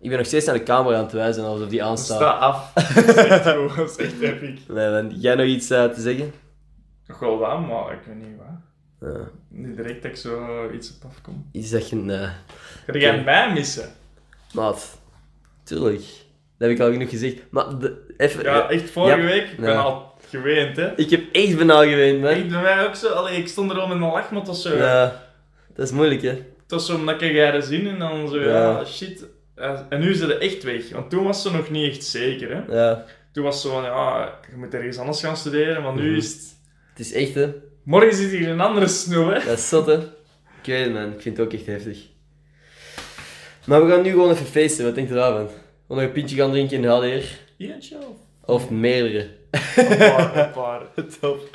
Speaker 1: Ik ben nog steeds naar de camera aan het wijzen, alsof die aanstaat.
Speaker 2: Sta af. Dat is echt goed, dat is echt epic.
Speaker 1: Nee, man. Jij nog iets eh, te zeggen?
Speaker 2: Nog wel wat, maar ik weet niet waar.
Speaker 1: Eh,
Speaker 2: Niet direct dat ik zo iets op afkom.
Speaker 1: iets dat je... eh,
Speaker 2: Ga jij
Speaker 1: Oké.
Speaker 2: mij missen?
Speaker 1: maat. Tuurlijk. Dat heb ik al genoeg gezegd. Maar de, even...
Speaker 2: Ja, echt vorige
Speaker 1: Ja.
Speaker 2: week. Ik ben
Speaker 1: Ja.
Speaker 2: al geweend, hè.
Speaker 1: Ik heb echt benaal gewend, man.
Speaker 2: Ik bij mij ook zo. Allee, ik stond er al met een lachmat of zo.
Speaker 1: Ja. Dat is moeilijk, hè.
Speaker 2: Het was zo omdat ik haar zin en dan zo, ja,
Speaker 1: Ja.
Speaker 2: shit. Eh, En nu is ze echt weg. Want toen was ze nog niet echt zeker, hè.
Speaker 1: Ja.
Speaker 2: Toen was ze van, ja, je moet ergens anders gaan studeren, maar nu
Speaker 1: Mhm.
Speaker 2: is het...
Speaker 1: Het is echt, hè.
Speaker 2: Morgen zit hier een andere snoe, hè.
Speaker 1: Dat is zot, hè. Ik weet het, man. Ik vind het ook echt heftig. Maar we gaan nu gewoon even feesten. Wat denk je daarvan? We gaan nog een pintje gaan drinken in de HDR.
Speaker 2: Eentje of
Speaker 1: Of meerdere.
Speaker 2: een paar, een paar.
Speaker 1: Top.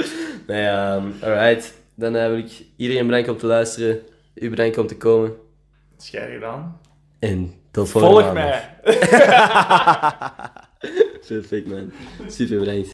Speaker 1: Nee, ehm, alright. Dan eh, wil ik iedereen bedanken om te luisteren. U bedanken om te komen.
Speaker 2: Dat is jij gedaan.
Speaker 1: En tot volgende
Speaker 2: Volg
Speaker 1: maandag.
Speaker 2: mij.
Speaker 1: Perfect, man. Super bedankt.